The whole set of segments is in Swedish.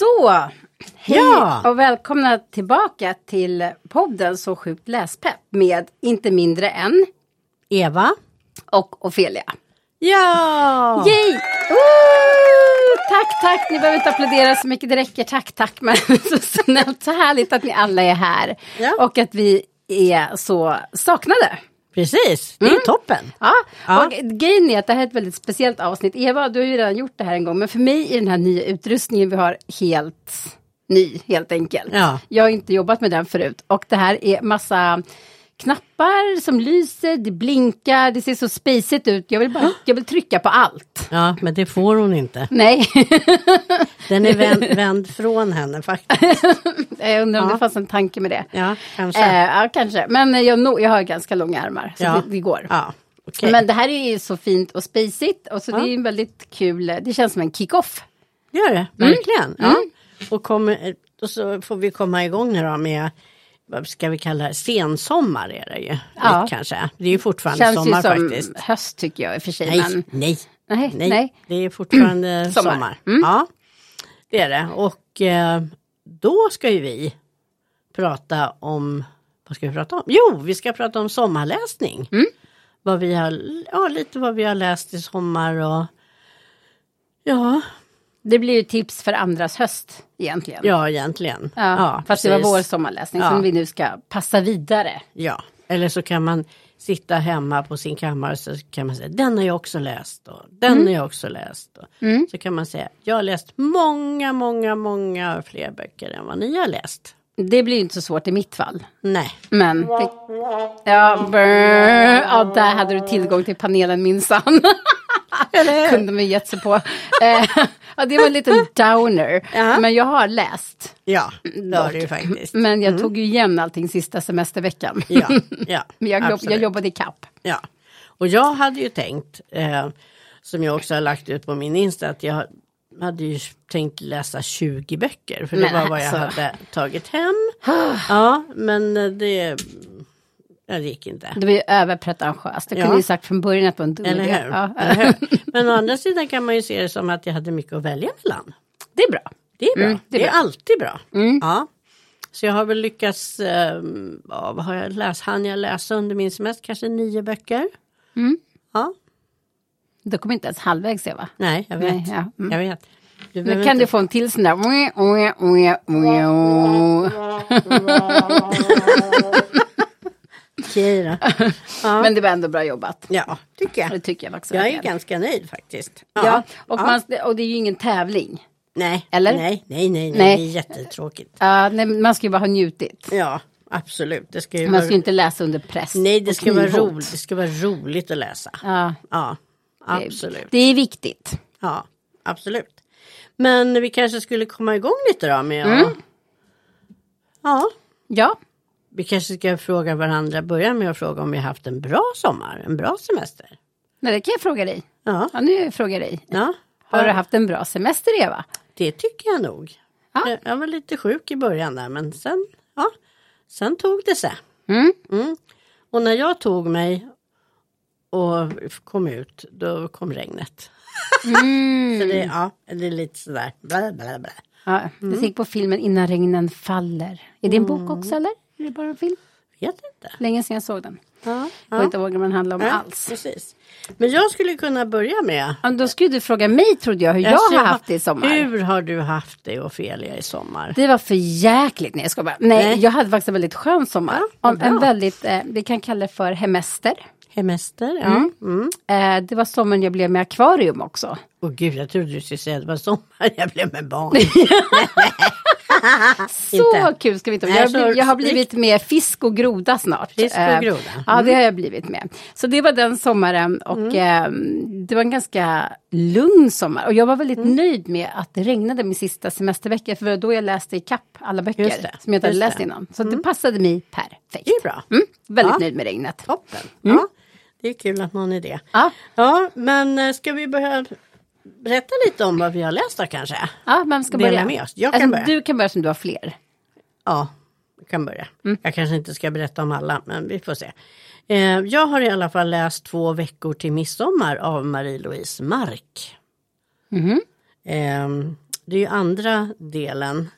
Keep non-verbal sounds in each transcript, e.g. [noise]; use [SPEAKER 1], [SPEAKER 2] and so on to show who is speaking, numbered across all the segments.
[SPEAKER 1] Hallå! Hej
[SPEAKER 2] Ja!
[SPEAKER 1] och välkomna tillbaka till podden Så sjukt läspepp med inte mindre än
[SPEAKER 2] Eva.
[SPEAKER 1] och Ofelia.
[SPEAKER 2] Ja!
[SPEAKER 1] Yay! Woo! Tack, tack! Ni behöver inte applådera så mycket, det räcker. Tack, tack. Men [laughs] så snällt, så härligt att ni alla är här.
[SPEAKER 2] Ja.
[SPEAKER 1] Och att vi är så saknade.
[SPEAKER 2] Precis, det är toppen.
[SPEAKER 1] Ja,
[SPEAKER 2] Ja.
[SPEAKER 1] och grejen är att det här är ett väldigt speciellt avsnitt. Eva, du har ju redan gjort det här en gång, men för mig är den här nya utrustningen vi har helt ny, helt enkelt.
[SPEAKER 2] Ja.
[SPEAKER 1] Jag har inte jobbat med den förut och det här är massa knappar som lyser, det blinkar, det ser så spacet ut. Jag vill,
[SPEAKER 2] [gasps]
[SPEAKER 1] bara, jag vill trycka på allt.
[SPEAKER 2] Ja, men det får hon inte.
[SPEAKER 1] Nej, [laughs]
[SPEAKER 2] Den är vänd, vänd från henne faktiskt.
[SPEAKER 1] jag undrar om
[SPEAKER 2] Ja.
[SPEAKER 1] det fanns en tanke med det.
[SPEAKER 2] Ja, kanske.
[SPEAKER 1] Eh, ja, kanske. Men eh, jag, no- jag har ganska långa ärmar, så
[SPEAKER 2] Ja.
[SPEAKER 1] det, det går.
[SPEAKER 2] Ja, okej.
[SPEAKER 1] Men det här är ju så fint och spacigt och så det är ju en väldigt kul, eh, det känns som en kick-off.
[SPEAKER 2] Gör det, verkligen. Ja. Och, kommer, och så får vi komma igång nu då med, vad ska vi kalla det, sensommar är det ju.
[SPEAKER 1] Ja.
[SPEAKER 2] Lite Kanske. Det är ju fortfarande
[SPEAKER 1] Känns ju
[SPEAKER 2] sommar
[SPEAKER 1] som
[SPEAKER 2] faktiskt.
[SPEAKER 1] höst tycker jag i och för sig.
[SPEAKER 2] Nej,
[SPEAKER 1] Men,
[SPEAKER 2] nej,
[SPEAKER 1] nej,
[SPEAKER 2] nej,
[SPEAKER 1] nej.
[SPEAKER 2] Det är fortfarande
[SPEAKER 1] [clears throat]
[SPEAKER 2] sommar.
[SPEAKER 1] Sommar. Mm.
[SPEAKER 2] Ja, det är det. Och eh, då ska ju vi prata om, vad ska vi prata om? Jo, vi ska prata om sommarläsning.
[SPEAKER 1] Mm.
[SPEAKER 2] Vad vi har, ja, lite vad vi har läst i sommar och ja,
[SPEAKER 1] Det blir ju tips för andras höst egentligen.
[SPEAKER 2] ja egentligen.
[SPEAKER 1] Ja, fast det var
[SPEAKER 2] precis.
[SPEAKER 1] vår sommarläsning
[SPEAKER 2] Ja.
[SPEAKER 1] som vi nu ska passa vidare.
[SPEAKER 2] Ja, eller så kan man sitta hemma på sin kammare så kan man säga den har jag också läst och den
[SPEAKER 1] Mm.
[SPEAKER 2] har jag också läst. Och. Så kan man säga jag har läst många, många, många fler böcker än vad ni har läst.
[SPEAKER 1] Det blir ju inte så svårt i mitt fall.
[SPEAKER 2] Nej,
[SPEAKER 1] Men... Det, ja, brr, ja, där hade du tillgång till panelen
[SPEAKER 2] [laughs]
[SPEAKER 1] minsann. Kunde man gett sig på. Eh, ja, det var en liten downer.
[SPEAKER 2] Ja.
[SPEAKER 1] Men jag har läst.
[SPEAKER 2] ja, det har du ju
[SPEAKER 1] [laughs]
[SPEAKER 2] faktiskt.
[SPEAKER 1] Men jag tog ju igen allting sista semesterveckan.
[SPEAKER 2] Mm. Ja, ja,
[SPEAKER 1] [laughs] Men jag, jobb, jag
[SPEAKER 2] absolut.
[SPEAKER 1] jobbade i kapp.
[SPEAKER 2] Ja, och jag hade ju tänkt, eh, som jag också har lagt ut på min Insta, att jag hade ju tänkt läsa 20 böcker, för det
[SPEAKER 1] Men
[SPEAKER 2] var vad jag
[SPEAKER 1] alltså. Ah.
[SPEAKER 2] hade tagit hem. Ja, men eh, det, ja, det gick inte.
[SPEAKER 1] Det var ju överpretentiöst. Jag
[SPEAKER 2] Ja.
[SPEAKER 1] kunde ju sagt från början att det var en dum
[SPEAKER 2] Eller
[SPEAKER 1] idé.
[SPEAKER 2] hur?
[SPEAKER 1] Ja. [laughs]
[SPEAKER 2] Eller hur? Men å andra sidan kan man ju se det som att jag hade mycket att välja mellan.
[SPEAKER 1] Det är bra.
[SPEAKER 2] Det är bra.
[SPEAKER 1] Mm,
[SPEAKER 2] det,
[SPEAKER 1] det
[SPEAKER 2] är
[SPEAKER 1] är
[SPEAKER 2] alltid bra. Ja. Så jag har väl lyckats, eh, ja, vad har jag läst? Han jag läsa under min semester? Kanske nio böcker?
[SPEAKER 1] Mm.
[SPEAKER 2] Ja,
[SPEAKER 1] Då kommer inte ens halvvägs Eva.
[SPEAKER 2] nej jag vet.
[SPEAKER 1] Nej, ja. Mm.
[SPEAKER 2] Jag vet. Du
[SPEAKER 1] Nu
[SPEAKER 2] behöver
[SPEAKER 1] kan
[SPEAKER 2] inte...
[SPEAKER 1] du få en till sån där... oe, oe, oe, oe, oe.
[SPEAKER 2] Okej då. Ja.
[SPEAKER 1] Men det var ändå bra jobbat.
[SPEAKER 2] [laughs] Ja, tycker
[SPEAKER 1] Det
[SPEAKER 2] jag.
[SPEAKER 1] tycker jag också.
[SPEAKER 2] Jag är
[SPEAKER 1] verkligen.
[SPEAKER 2] ganska nöjd faktiskt.
[SPEAKER 1] ja. Och, man, och det är ju ingen tävling.
[SPEAKER 2] Nej.
[SPEAKER 1] Eller?
[SPEAKER 2] Nej, nej, nej, nej,
[SPEAKER 1] Nej.
[SPEAKER 2] det är jättetråkigt.
[SPEAKER 1] Ja, nej, man ska ju bara ha njutit.
[SPEAKER 2] Ja, absolut. Det ska ju
[SPEAKER 1] Man ska ju
[SPEAKER 2] vara...
[SPEAKER 1] inte läsa under press.
[SPEAKER 2] Nej, det
[SPEAKER 1] och
[SPEAKER 2] ska, vara
[SPEAKER 1] knivhot.
[SPEAKER 2] roligt. det ska vara roligt att läsa.
[SPEAKER 1] Ja,
[SPEAKER 2] Ja,
[SPEAKER 1] det-
[SPEAKER 2] absolut.
[SPEAKER 1] Det är viktigt.
[SPEAKER 2] Ja, absolut. Men vi kanske skulle komma igång lite då med att...
[SPEAKER 1] Mm.
[SPEAKER 2] Ja,
[SPEAKER 1] Ja,
[SPEAKER 2] vi kanske ska fråga varandra, börja med att fråga om vi har haft en bra sommar, en bra semester.
[SPEAKER 1] nej, det kan jag fråga dig.
[SPEAKER 2] Ja,
[SPEAKER 1] Ja, nu frågar jag dig.
[SPEAKER 2] ja
[SPEAKER 1] Har du haft en bra semester Eva?
[SPEAKER 2] det tycker jag nog.
[SPEAKER 1] Ja.
[SPEAKER 2] Jag- Jag var lite sjuk i början där, men sen, ja, sen tog det sig.
[SPEAKER 1] Mm.
[SPEAKER 2] Mm. Och när jag tog mig och kom ut, då kom regnet.
[SPEAKER 1] Mm.
[SPEAKER 2] [laughs] Så det, ja, det är lite sådär, blä, blä, blä.
[SPEAKER 1] Ja,
[SPEAKER 2] Mm.
[SPEAKER 1] Jag tänker på filmen Innan regnen faller. Är det en bok också eller? Är det bara en film?
[SPEAKER 2] Vet inte.
[SPEAKER 1] Länge sedan jag såg den.
[SPEAKER 2] Ja,
[SPEAKER 1] Jag vet inte vad den handlar om
[SPEAKER 2] Nej,
[SPEAKER 1] alls.
[SPEAKER 2] Precis. Men jag skulle kunna börja med.
[SPEAKER 1] Ja, Då skulle du fråga mig trodde jag hur jag,
[SPEAKER 2] Alltså,
[SPEAKER 1] har haft det i sommar.
[SPEAKER 2] Hur har du haft det Ofelia i sommar?
[SPEAKER 1] Det var för jäkligt. Nej, jag ska bara. Nej,
[SPEAKER 2] Nej.
[SPEAKER 1] jag hade faktiskt en väldigt skön sommar.
[SPEAKER 2] vad
[SPEAKER 1] Om en
[SPEAKER 2] bra.
[SPEAKER 1] väldigt, eh, vi kan kalla det för hemester.
[SPEAKER 2] Hemester, ja. Mm.
[SPEAKER 1] Eh, det var sommaren jag blev med akvarium också.
[SPEAKER 2] Åh gud, jag trodde du skulle säga att det var sommar [laughs] jag blev med barn.
[SPEAKER 1] Så
[SPEAKER 2] Inte.
[SPEAKER 1] kul ska vi inte
[SPEAKER 2] Nej,
[SPEAKER 1] jag, har
[SPEAKER 2] så
[SPEAKER 1] blivit, jag har
[SPEAKER 2] rikt-
[SPEAKER 1] blivit med fisk och groda snart.
[SPEAKER 2] Fisk och
[SPEAKER 1] Eh,
[SPEAKER 2] groda. Mm.
[SPEAKER 1] Ja, det har jag blivit med. Så det var den sommaren och eh, det var en ganska lugn sommar. Och jag var väldigt
[SPEAKER 2] Mm.
[SPEAKER 1] nöjd med att det regnade min sista semestervecka. För det var då jag läste i kapp alla
[SPEAKER 2] Just
[SPEAKER 1] böcker
[SPEAKER 2] det,
[SPEAKER 1] som jag inte hade
[SPEAKER 2] just
[SPEAKER 1] läst
[SPEAKER 2] det. Mm.
[SPEAKER 1] innan. Så det passade mig perfekt.
[SPEAKER 2] Det är bra.
[SPEAKER 1] Mm, väldigt
[SPEAKER 2] Ja.
[SPEAKER 1] nöjd med regnet.
[SPEAKER 2] Toppen. Ja, det är kul att någon är det.
[SPEAKER 1] Ja,
[SPEAKER 2] Ja, men eh, ska vi börja berätta lite om vad vi har läst då kanske?
[SPEAKER 1] ja, vem ska
[SPEAKER 2] Dela
[SPEAKER 1] börja? Alltså,
[SPEAKER 2] med oss. Jag kan börja.
[SPEAKER 1] Du kan börja som du har fler.
[SPEAKER 2] Ja, vi kan börja. Jag kanske inte ska berätta om alla, men vi får se. Eh, jag har i alla fall läst Två veckor till midsommar av Marie-Louise Mark. Eh, det är ju andra delen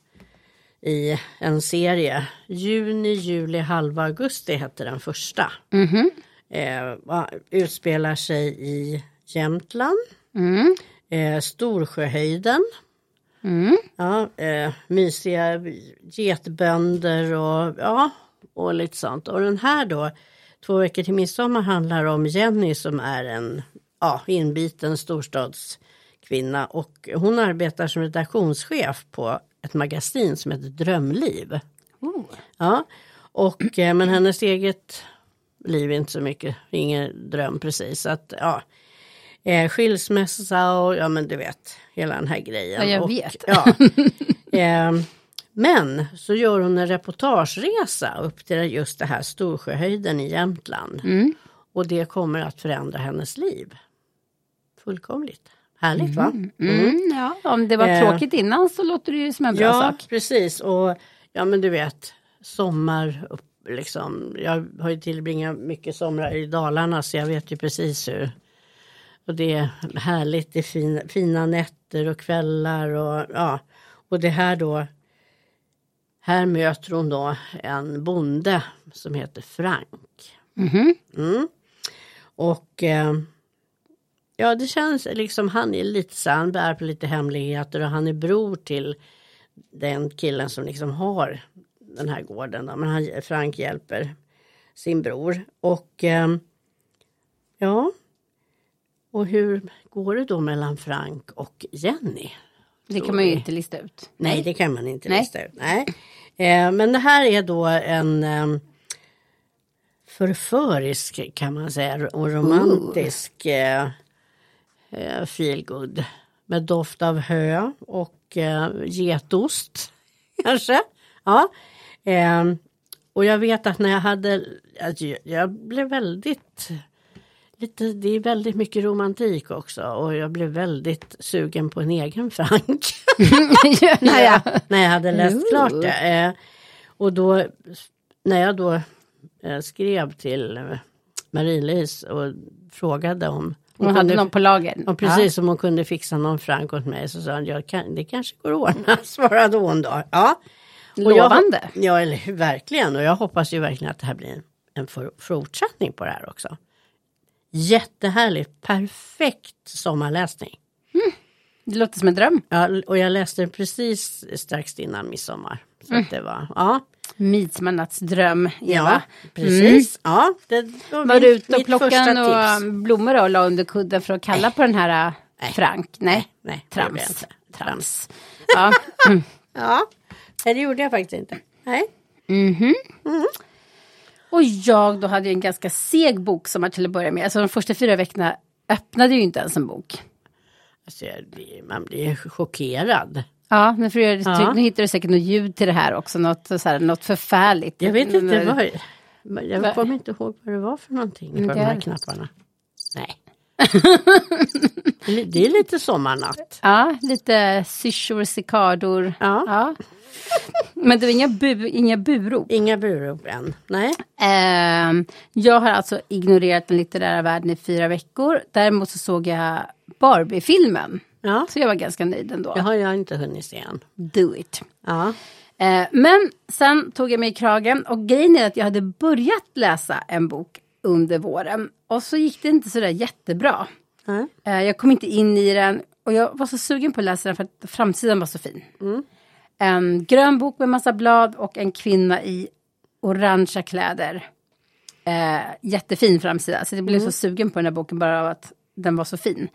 [SPEAKER 2] i en serie. Juni, juli, halva augusti hette den första.
[SPEAKER 1] Mhm.
[SPEAKER 2] Eh, va- utspelar sig i Jämtland,
[SPEAKER 1] Mm.
[SPEAKER 2] eh, Storsjöhöjden.
[SPEAKER 1] Mm.
[SPEAKER 2] Ja, eh, mysiga getbönder och, ja, och lite sånt. Och den här då, Två veckor till midsommar handlar om Jenny som är en ja, inbiten storstadskvinna. Och hon arbetar som redaktionschef på ett magasin som heter Drömliv.
[SPEAKER 1] Oh.
[SPEAKER 2] Ja, och, eh, men hennes eget liv är inte så mycket, ingen dröm precis. Så att, ja, eh, skilsmässa och ja men du vet, hela den här grejen.
[SPEAKER 1] Ja, jag
[SPEAKER 2] och,
[SPEAKER 1] vet. [laughs]
[SPEAKER 2] Ja, eh, men så gör hon en reportageresa upp till just det här Storsjöhöjden i Jämtland.
[SPEAKER 1] Mm.
[SPEAKER 2] Och det kommer att förändra hennes liv. Fullkomligt. Härligt va?
[SPEAKER 1] Mm, ja, om det var
[SPEAKER 2] Eh.
[SPEAKER 1] tråkigt innan så låter det ju som en bra
[SPEAKER 2] ja,
[SPEAKER 1] sak.
[SPEAKER 2] precis. Och ja, men du vet, sommar, upp, liksom. Jag har ju tillbringat mycket somrar i Dalarna så jag vet ju precis hur. Och det är härligt, det är fina, fina nätter och kvällar och ja. Och det här då, här möter hon då en bonde som heter Frank.
[SPEAKER 1] Mhm.
[SPEAKER 2] Mm. Och eh, ja, det känns liksom han är lite så han bär på lite hemligheter och han är bror till den killen som liksom har den här gården. Då. Men han, Frank hjälper sin bror. Och eh, ja, och hur går det då mellan Frank och Jenny?
[SPEAKER 1] Det kan man ju inte lista
[SPEAKER 2] [laughs]
[SPEAKER 1] ut.
[SPEAKER 2] Nej, det kan man inte
[SPEAKER 1] Nej.
[SPEAKER 2] lista ut. Nej. Eh, men det här är då en eh, förförisk kan man säga och romantisk eh, eh, feelgood. Med doft av hö och eh, getost [laughs] kanske. Ja. Eh, och jag vet att när jag hade, att jag- jag blev väldigt Lite, det är väldigt mycket romantik också och jag blev väldigt sugen på en egen [laughs] Frank.
[SPEAKER 1] ja,
[SPEAKER 2] när,
[SPEAKER 1] ja.
[SPEAKER 2] jag, [laughs] när jag hade läst
[SPEAKER 1] Ooh.
[SPEAKER 2] klart det. Eh, och då, när jag då eh, skrev till eh, Marie-Louise och frågade om
[SPEAKER 1] Hon hade någon på lager.
[SPEAKER 2] och precis som hon kunde fixa någon frank åt mig så sa hon, jag kan, det kanske går att ordna, [laughs] svarade hon då. Ja. Och
[SPEAKER 1] Lovande.
[SPEAKER 2] Jag, ja, eller hur, verkligen. Och jag hoppas ju verkligen att det här blir en for, fortsättning på det här också. Jättehärligt, perfekt sommarläsning.
[SPEAKER 1] Ja. Det låter som en dröm.
[SPEAKER 2] Ja, och jag läste den precis strax innan midsommar. Så
[SPEAKER 1] Mm.
[SPEAKER 2] att det var, ja.
[SPEAKER 1] Midsommarnattsdröm, Eva.
[SPEAKER 2] precis. Ja, det var,
[SPEAKER 1] Mm. Var
[SPEAKER 2] mitt-
[SPEAKER 1] du ute och
[SPEAKER 2] mitt första
[SPEAKER 1] plockade några
[SPEAKER 2] tips.
[SPEAKER 1] blommor och la under kudden för att kalla på den här
[SPEAKER 2] Nej.
[SPEAKER 1] äh, Frank? Nej,
[SPEAKER 2] Nej, det gjorde jag
[SPEAKER 1] trams.
[SPEAKER 2] inte.
[SPEAKER 1] Trams. [laughs] Ja. Mm.
[SPEAKER 2] Ja, Nej, det gjorde jag faktiskt inte. Nej.
[SPEAKER 1] Och jag då hade ju en ganska seg boksommar till att börja med. Alltså de första fyra veckorna öppnade jag ju inte ens en bok.
[SPEAKER 2] Alltså, jag blir, man blir chockerad.
[SPEAKER 1] Ja, men för att göra det tryggt,
[SPEAKER 2] Ja.
[SPEAKER 1] nu hittar du säkert något ljud till det här också, något, så här, något förfärligt. Mm.
[SPEAKER 2] Jag vet inte
[SPEAKER 1] Men- eh,
[SPEAKER 2] vad... men
[SPEAKER 1] Va-
[SPEAKER 2] Jag kommer inte ihåg vad det var för någonting på
[SPEAKER 1] Men
[SPEAKER 2] de
[SPEAKER 1] det
[SPEAKER 2] här
[SPEAKER 1] är-
[SPEAKER 2] knapparna. Nej.
[SPEAKER 1] [laughs]
[SPEAKER 2] Det är li- det är lite sommarnatt.
[SPEAKER 1] Ja, lite syrsor, cikador.
[SPEAKER 2] Ja.
[SPEAKER 1] Ja. Men det var inga, bu, inga burop.
[SPEAKER 2] Inga burop än. Nej.
[SPEAKER 1] Ehm, jag har alltså ignorerat den litterära världen i fyra veckor. Däremot så såg jag Barbie-filmen.
[SPEAKER 2] Ja.
[SPEAKER 1] Så jag var ganska nöjd ändå.
[SPEAKER 2] Det har jag inte hunnit se än.
[SPEAKER 1] Do it.
[SPEAKER 2] Ja.
[SPEAKER 1] Eh, men sen tog jag mig i kragen och grejen är att jag hade börjat läsa en bok under våren. Och så gick det inte sådär jättebra.
[SPEAKER 2] Nej.
[SPEAKER 1] Eh, jag kom inte in i den och jag var så sugen på att läsa den för att framsidan var så fin. En grön bok med massa blad och en kvinna i orangea kläder. Eh, jättefin framsida, så jag blev så sugen på den här boken bara av att den var så fin.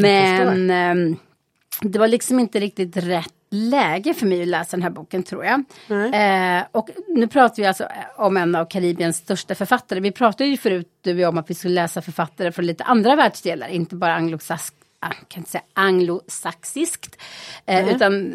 [SPEAKER 1] Men ehm, det var liksom inte riktigt rätt läge för mig att läsa den här boken tror jag. Eh, och nu pratar vi alltså om en av Karibiens största författare. Vi pratade ju förut du och jag, om att vi skulle läsa författare från lite andra världsdelar, inte bara anglosask ah, jag kan inte säga anglosaxiskt, eh, utan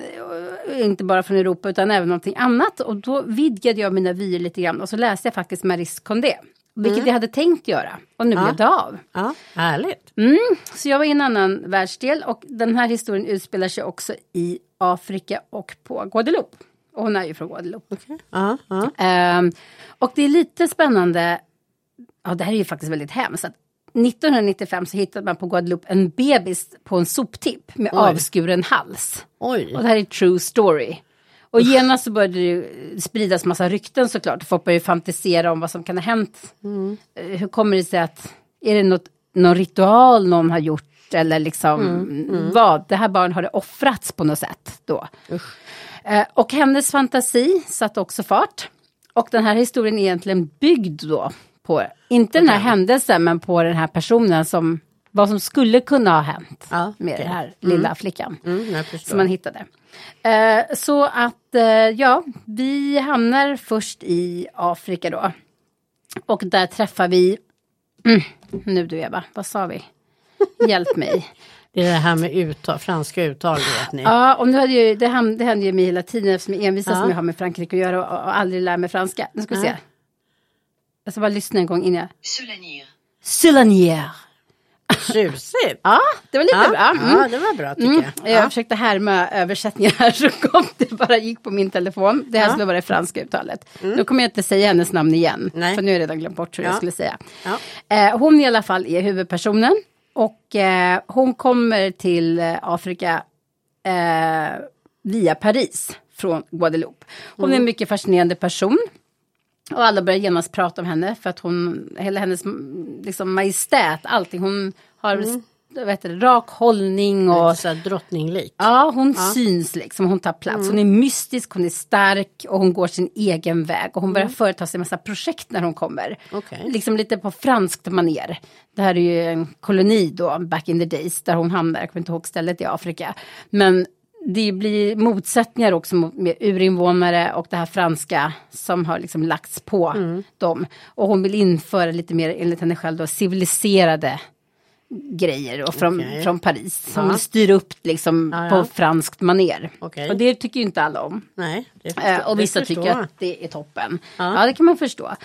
[SPEAKER 1] eh, inte bara från Europa utan även någonting annat. Och då vidgade jag mina vyer lite grann och så läste jag faktiskt Maris Condé, vilket jag hade tänkt göra och nu blev det av.
[SPEAKER 2] Ja. Härligt.
[SPEAKER 1] Mm, så jag var i en annan världsdel och den här historien utspelar sig också i Afrika och på Guadeloupe. Och hon är ju från Guadeloupe.
[SPEAKER 2] Ja. Ja.
[SPEAKER 1] Ehm, och det är lite spännande, ja det här är ju faktiskt väldigt hemskt, att 1995 så hittade man på Guadeloupe en bebis på en soptipp med
[SPEAKER 2] Oj.
[SPEAKER 1] avskuren hals. Och
[SPEAKER 2] Oj.
[SPEAKER 1] det här är true story. Och genast så började det ju spridas massa rykten såklart. Folk började ju fantisera om vad som kan ha hänt.
[SPEAKER 2] Mm.
[SPEAKER 1] Eh, Hur kommer det sig att, är det något, någon ritual någon har gjort? Eller liksom
[SPEAKER 2] Mm,
[SPEAKER 1] vad? Det här barnet har det offrats på något sätt då. Eh, och hennes fantasi satte också fart. Och den här historien är egentligen byggd då på, inte den här händelsen, men på den här personen som, vad som skulle kunna ha hänt
[SPEAKER 2] Ja,
[SPEAKER 1] med
[SPEAKER 2] okej.
[SPEAKER 1] den här lilla flickan
[SPEAKER 2] Mm, jag
[SPEAKER 1] som man
[SPEAKER 2] förstår.
[SPEAKER 1] hittade. Eh, så att, eh, ja, vi hamnar först i Afrika då. Och där träffar vi, mm, nu du Eva, vad sa vi? Hjälp
[SPEAKER 2] [laughs]
[SPEAKER 1] mig.
[SPEAKER 2] Det är det här med uttal, franska uttal vet ni.
[SPEAKER 1] Ja, och nu hade ju, det, ham- det hände ju mig hela tiden eftersom jag envisas
[SPEAKER 2] Ja.
[SPEAKER 1] med att ha med Frankrike att göra och, och aldrig lär mig franska. Nu ska vi se.
[SPEAKER 2] Ja.
[SPEAKER 1] Jag ska bara lyssna en gång innan jag...
[SPEAKER 3] Solanir.
[SPEAKER 1] Soulanier.
[SPEAKER 2] Tjusigt.
[SPEAKER 1] Ja, det var lite
[SPEAKER 2] Ja,
[SPEAKER 1] bra. Mm.
[SPEAKER 2] ja, det var bra tycker
[SPEAKER 1] Mm,
[SPEAKER 2] jag.
[SPEAKER 1] jag
[SPEAKER 2] Ja.
[SPEAKER 1] försökte härma översättningar här [laughs] så kom det bara gick på min telefon. Det här
[SPEAKER 2] Ja. Mm.
[SPEAKER 1] skulle vara det franska uttalet. Nu kommer jag inte säga hennes namn igen.
[SPEAKER 2] Nej.
[SPEAKER 1] För nu har jag redan glömt bort hur
[SPEAKER 2] Ja.
[SPEAKER 1] jag skulle säga.
[SPEAKER 2] Ja.
[SPEAKER 1] Eh, hon i alla fall är huvudpersonen. Och eh, hon kommer till eh, Afrika eh, via Paris från Guadeloupe. Hon
[SPEAKER 2] Mm.
[SPEAKER 1] är en mycket fascinerande person. Och alla börjar genast prata om henne för att hon, hela hennes mm, liksom, majestät, allting. Hon har
[SPEAKER 2] Mm.
[SPEAKER 1] vad heter det, rak hållning och
[SPEAKER 2] Lite så här drottninglik.
[SPEAKER 1] Ja, hon syns liksom, hon tar plats.
[SPEAKER 2] Mm.
[SPEAKER 1] Hon är mystisk, hon är stark och hon går sin egen väg. Och hon börjar företa sig en massa projekt när hon kommer.
[SPEAKER 2] Mm. Okej.
[SPEAKER 1] Liksom lite på franskt maner. Det här är ju en koloni då, back in the days, där hon hamnar. Jag kommer inte ihåg stället i Afrika. Men det blir motsättningar också mot, med urinvånare och det här franska som har liksom lagts på
[SPEAKER 2] Mm.
[SPEAKER 1] dem. Och hon vill införa lite mer, enligt henne själv, då, civiliserade grejer och från,
[SPEAKER 2] Okej.
[SPEAKER 1] från Paris. Hon
[SPEAKER 2] Ja.
[SPEAKER 1] vill styra upp liksom
[SPEAKER 2] Ja, ja.
[SPEAKER 1] på franskt maner.
[SPEAKER 2] Okej.
[SPEAKER 1] Och det tycker ju inte alla om.
[SPEAKER 2] Nej, det förstår-
[SPEAKER 1] Eh, och
[SPEAKER 2] det
[SPEAKER 1] vissa
[SPEAKER 2] förstår
[SPEAKER 1] tycker
[SPEAKER 2] jag.
[SPEAKER 1] att det är toppen.
[SPEAKER 2] Ja.
[SPEAKER 1] Ja, det kan man förstå.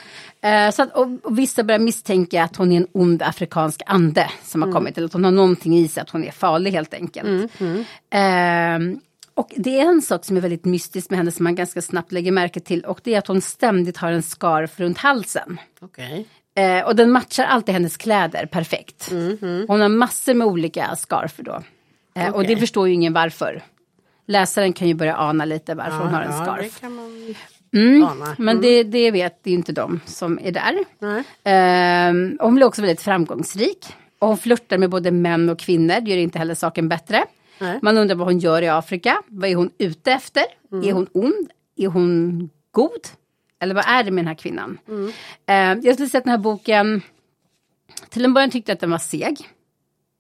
[SPEAKER 1] Eh, så att, och, och vissa börjar misstänka att hon är en ond afrikansk ande som har
[SPEAKER 2] Mm.
[SPEAKER 1] kommit. Eller att hon har någonting i sig, att hon är farlig helt enkelt.
[SPEAKER 2] Mm,
[SPEAKER 1] Eh, och det är en sak som är väldigt mystisk med henne som man ganska snabbt lägger märke till. Och det är att hon ständigt har en scarf runt halsen.
[SPEAKER 2] Okej.
[SPEAKER 1] Eh, och den matchar alltid hennes kläder perfekt. Hon har massor med olika scarfer då. Eh, Och
[SPEAKER 2] Mhm. Okej.
[SPEAKER 1] det förstår ju ingen varför. Läsaren kan ju börja ana lite varför hon har en
[SPEAKER 2] ja,
[SPEAKER 1] scarf.
[SPEAKER 2] det kan man
[SPEAKER 1] Mm.
[SPEAKER 2] ana.
[SPEAKER 1] Men det, det vet ju inte de som är där.
[SPEAKER 2] Nej.
[SPEAKER 1] Ehm, och hon blir också väldigt framgångsrik. Och hon flörtar med både män och kvinnor, det gör inte heller saken bättre.
[SPEAKER 2] Nej.
[SPEAKER 1] Man undrar vad hon gör i Afrika. Vad är hon ute efter?
[SPEAKER 2] Mm.
[SPEAKER 1] Är hon ond? Är hon god? Eller vad är det med den här kvinnan?
[SPEAKER 2] Mm.
[SPEAKER 1] Ehm, jag skulle säga att den här boken, till en början tyckte jag att den var seg.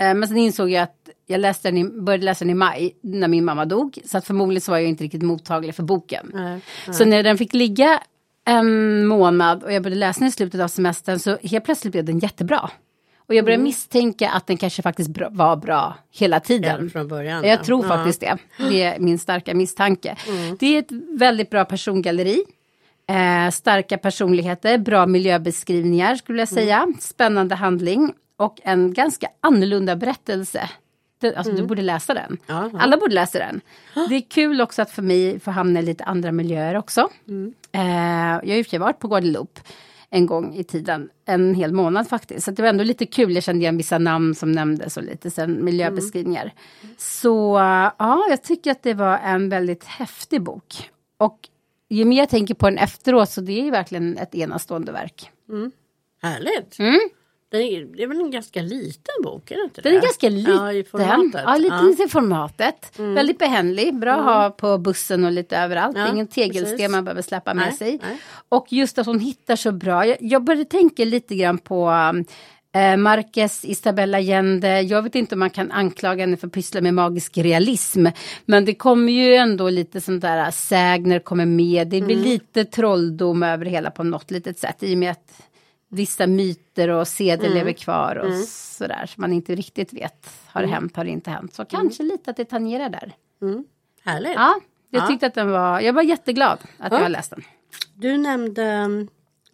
[SPEAKER 1] Eh, Men sen insåg jag att jag läste den i, började läsa den i maj när min mamma dog. Så att förmodligen så var jag inte riktigt mottaglig för boken.
[SPEAKER 2] Nej,
[SPEAKER 1] Så när den fick ligga en månad och jag började läsa den i slutet av semestern så helt plötsligt blev den jättebra. Och jag började
[SPEAKER 2] Mm.
[SPEAKER 1] misstänka att den kanske faktiskt bra, var bra hela tiden.
[SPEAKER 2] Redan från början.
[SPEAKER 1] Jag
[SPEAKER 2] ja.
[SPEAKER 1] tror
[SPEAKER 2] Ja. Mm.
[SPEAKER 1] faktiskt det. Det är min starka misstanke. Det är ett väldigt bra persongalleri. Eh, starka personligheter, bra miljöbeskrivningar skulle jag säga.
[SPEAKER 2] Mm.
[SPEAKER 1] Spännande handling och en ganska annorlunda berättelse. Det, alltså du borde läsa den.
[SPEAKER 2] Mm. Ja, ja.
[SPEAKER 1] Alla borde läsa den. Det är kul också att för mig få hamna i lite andra miljöer också.
[SPEAKER 2] Mm.
[SPEAKER 1] Eh, jag har ju i och för sig varit på Guadeloupe en gång i tiden, en hel månad faktiskt. Så det var ändå lite kul, jag kände igen vissa namn som nämndes och lite sen miljöbeskrivningar.
[SPEAKER 2] Mm.
[SPEAKER 1] Så ja, jag tycker att det var en väldigt häftig bok. Och ju mer jag tänker på den efteråt så det är ju verkligen ett enastående verk.
[SPEAKER 2] Härligt. Det, är, det är väl en ganska liten bok, Mm. är det inte
[SPEAKER 1] Den
[SPEAKER 2] det?
[SPEAKER 1] är ganska liten.
[SPEAKER 2] Ja, i formatet. Mm.
[SPEAKER 1] Ja, liten i formatet. Väldigt behändig. Bra att ha på bussen och lite överallt.
[SPEAKER 2] Ja,
[SPEAKER 1] Ingen tegelsten
[SPEAKER 2] precis.
[SPEAKER 1] man behöver släppa med
[SPEAKER 2] Nej,
[SPEAKER 1] sig.
[SPEAKER 2] nej.
[SPEAKER 1] Och just att hon hittar så bra. Jag, jag började tänka lite grann på eh, Marquez, Isabella Allende. Jag vet inte om man kan anklaga henne för att pyssla med magisk realism. Men det kommer ju ändå lite sånt där äh, sägner kommer med. Det
[SPEAKER 2] Mm.
[SPEAKER 1] blir lite trolldom över hela på något litet sätt. I och med att vissa myter och seder
[SPEAKER 2] Mm.
[SPEAKER 1] lever kvar och sådär. Så man inte riktigt vet, har det
[SPEAKER 2] Mm.
[SPEAKER 1] hänt, har det inte hänt. Så kanske lite att det tangerar där.
[SPEAKER 2] Härligt.
[SPEAKER 1] Ja, jag
[SPEAKER 2] Ja.
[SPEAKER 1] tyckte att den var, jag var jätteglad att jag läste den.
[SPEAKER 2] Du nämnde mm,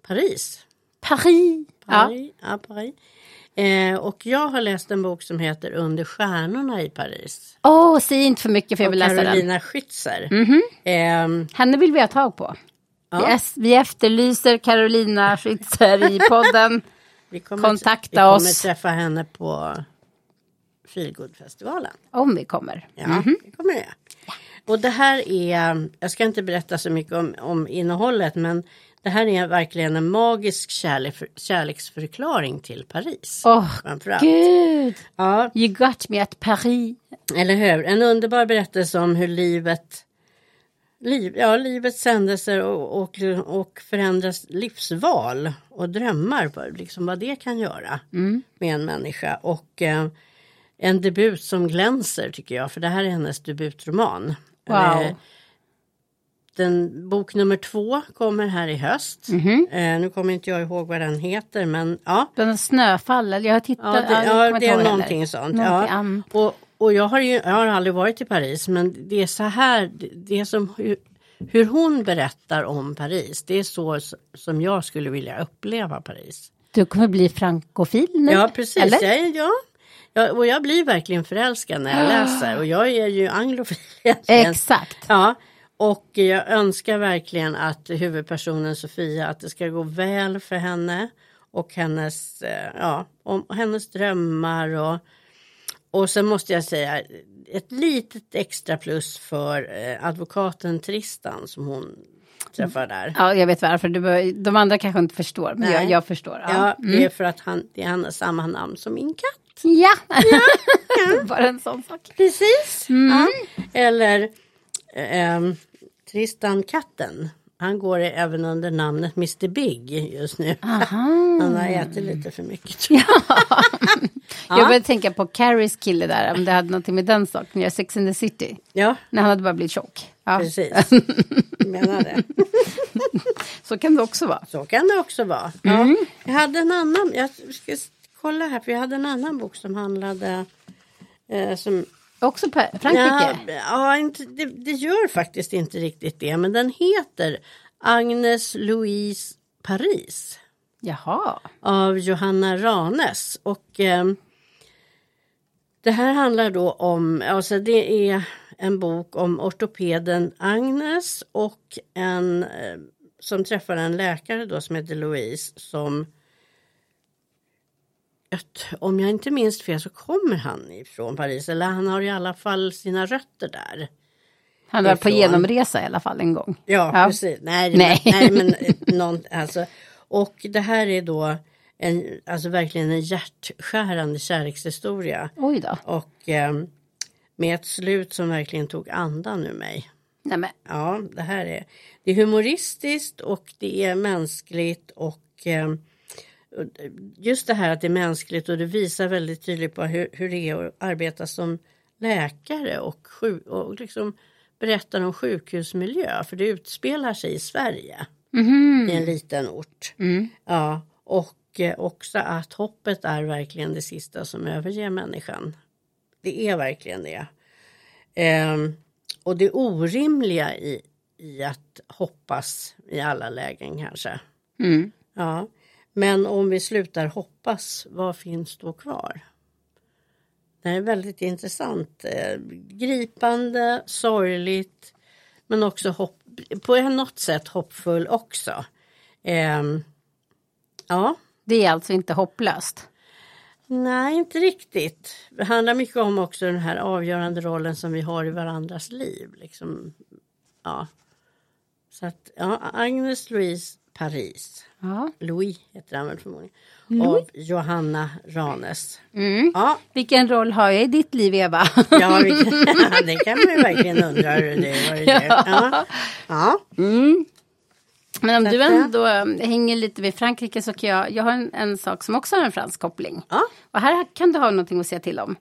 [SPEAKER 2] Paris.
[SPEAKER 1] Paris! Ja.
[SPEAKER 2] Paris. Ja. Paris. Eh, och jag har läst en bok som heter Under stjärnorna i Paris.
[SPEAKER 1] Åh, säg inte för mycket för jag vill läsa den. Mhm.
[SPEAKER 2] Carolina Schützer. Ehm,
[SPEAKER 1] Henne vill vi ha
[SPEAKER 2] [laughs]
[SPEAKER 1] tag på. Vi, es- vi efterlyser Carolina Schützer i podden.
[SPEAKER 2] Vi kommer,
[SPEAKER 1] Kontakta
[SPEAKER 2] vi kommer
[SPEAKER 1] oss.
[SPEAKER 2] träffa henne på Feelgood-festivalen.
[SPEAKER 1] Om vi kommer.
[SPEAKER 2] Ja, det kommer jag. Och det här är, jag ska inte berätta så mycket om, om innehållet, men det här är verkligen en magisk kärlek, kärleksförklaring till Paris.
[SPEAKER 1] Åh,
[SPEAKER 2] framförallt.
[SPEAKER 1] gud!
[SPEAKER 2] Ja,
[SPEAKER 1] You got me at Paris.
[SPEAKER 2] eller hur? En underbar berättelse om hur livet, liv, ja, livets händelser och, och, och förändras livsval och drömmar, vad- liksom vad det kan göra med en människa. Och eh, en debut som glänser tycker jag, för det här är hennes debutroman.
[SPEAKER 1] Wow.
[SPEAKER 2] Eh, den, bok nummer två kommer här i höst. Eh, nu kommer inte jag ihåg vad den heter, men ja.
[SPEAKER 1] Den snöfall, eller jag har tittat.
[SPEAKER 2] Ja,
[SPEAKER 1] jag
[SPEAKER 2] det,
[SPEAKER 1] kommer
[SPEAKER 2] ja,
[SPEAKER 1] inte
[SPEAKER 2] det är
[SPEAKER 1] ihåg heller.
[SPEAKER 2] någonting sånt.
[SPEAKER 1] Någonting
[SPEAKER 2] ja.
[SPEAKER 1] annat.
[SPEAKER 2] Och, och jag har ju jag har aldrig varit i Paris men det är så här, det- det är som hur, hur hon berättar om Paris, det är så s- som jag skulle vilja uppleva Paris.
[SPEAKER 1] Du kommer bli frankofil nu.
[SPEAKER 2] Ja precis,
[SPEAKER 1] Eller?
[SPEAKER 2] jag, är- ja. Jag, och jag blir verkligen förälskad när jag läser och jag är ju anglofil egentligen.
[SPEAKER 1] Ah. Exakt.
[SPEAKER 2] [laughs] Ja, och jag önskar verkligen att huvudpersonen Sofia, att det ska gå väl för henne och hennes, eh, ja, om, hennes drömmar och och sen måste jag säga ett litet extra plus för eh, advokaten Tristan som hon träffar där.
[SPEAKER 1] Ja, jag vet varför. Du bör, de andra kanske inte förstår, men jag,
[SPEAKER 2] Nej.
[SPEAKER 1] jag förstår.
[SPEAKER 2] Ja,
[SPEAKER 1] Ja.
[SPEAKER 2] det är för att han, det är han har samma namn som min katt.
[SPEAKER 1] ja. [laughs] Bara en sån sak.
[SPEAKER 2] Precis. Ja. Eller eh, ehm, Tristan katten. Han går även under namnet Mr Big just nu. [laughs] Han har ätit lite för mycket. tror jag.
[SPEAKER 1] Jag började tänka på Carries kille där, om det hade någonting med den saken. Jag är Sex and the City.
[SPEAKER 2] Ja,
[SPEAKER 1] När han hade bara blivit tjock. Ja.
[SPEAKER 2] precis. Jag Menar det.
[SPEAKER 1] Så kan det också vara.
[SPEAKER 2] Så kan det också vara. Ja. Jag hade en annan, jag ska s- kolla här, för jag hade en annan bok som handlade eh, som
[SPEAKER 1] Också på Frankrike.
[SPEAKER 2] Ja, ja inte, det, det gör faktiskt inte riktigt det, men den heter Agnes Louise Paris.
[SPEAKER 1] Jaha.
[SPEAKER 2] av Johanna Ranes. Och eh, det här handlar då om, alltså det är en bok om ortopeden Agnes och en eh, som träffar en läkare då som heter Louise som jag t- om jag inte minns fel så kommer han ifrån Paris eller han har i alla fall sina rötter där.
[SPEAKER 1] Han var på
[SPEAKER 2] Ifrån.
[SPEAKER 1] genomresa i alla fall en gång.
[SPEAKER 2] Ja,
[SPEAKER 1] Ja.
[SPEAKER 2] precis. Nej,
[SPEAKER 1] Nej.
[SPEAKER 2] Men, nej men eh, någon, alltså. Och det här är då en, alltså verkligen en hjärtskärande kärlekshistoria.
[SPEAKER 1] Oj då.
[SPEAKER 2] Och ehm, med ett slut som verkligen tog andan ur mig.
[SPEAKER 1] Nej, men.
[SPEAKER 2] Ja, det här är, det är humoristiskt och det är mänskligt och ehm, just det här att det är mänskligt och det visar väldigt tydligt på hur, hur det är att arbeta som läkare och, sju, och liksom berättar om sjukhusmiljö för det utspelar sig i Sverige i en liten ort. Ja, och eh, också att hoppet är verkligen det sista som överger människan. Det är verkligen det. Ehm, och det orimliga i, i att hoppas i alla lägen kanske.
[SPEAKER 1] Mm.
[SPEAKER 2] Ja, men om vi slutar hoppas, vad finns då kvar? Det här är väldigt intressant. eh, Gripande, sorgligt, men också hopp, på något sätt hoppfull också. Ehm, ja,
[SPEAKER 1] Det är alltså inte hopplöst.
[SPEAKER 2] nej, inte riktigt. Det handlar mycket om också den här avgörande rollen som vi har i varandras liv. Liksom, ja. Så att, ja, Agnes Louise Paris.
[SPEAKER 1] Ja.
[SPEAKER 2] Louis heter han väl förmodligen. Av Johanna Ranes.
[SPEAKER 1] Mm.
[SPEAKER 2] Ja,
[SPEAKER 1] Vilken roll har jag i ditt liv, Eva? [laughs]
[SPEAKER 2] ja vi, det kan [laughs] man ju verkligen undra hur det är. vad det är. Ja. Ja.
[SPEAKER 1] Men om du
[SPEAKER 2] att, ja.
[SPEAKER 1] ändå eh, hänger lite vid Frankrike så kan jag, jag har en, en sak som också har en fransk koppling.
[SPEAKER 2] Ja.
[SPEAKER 1] Och här kan du ha någonting att säga till om.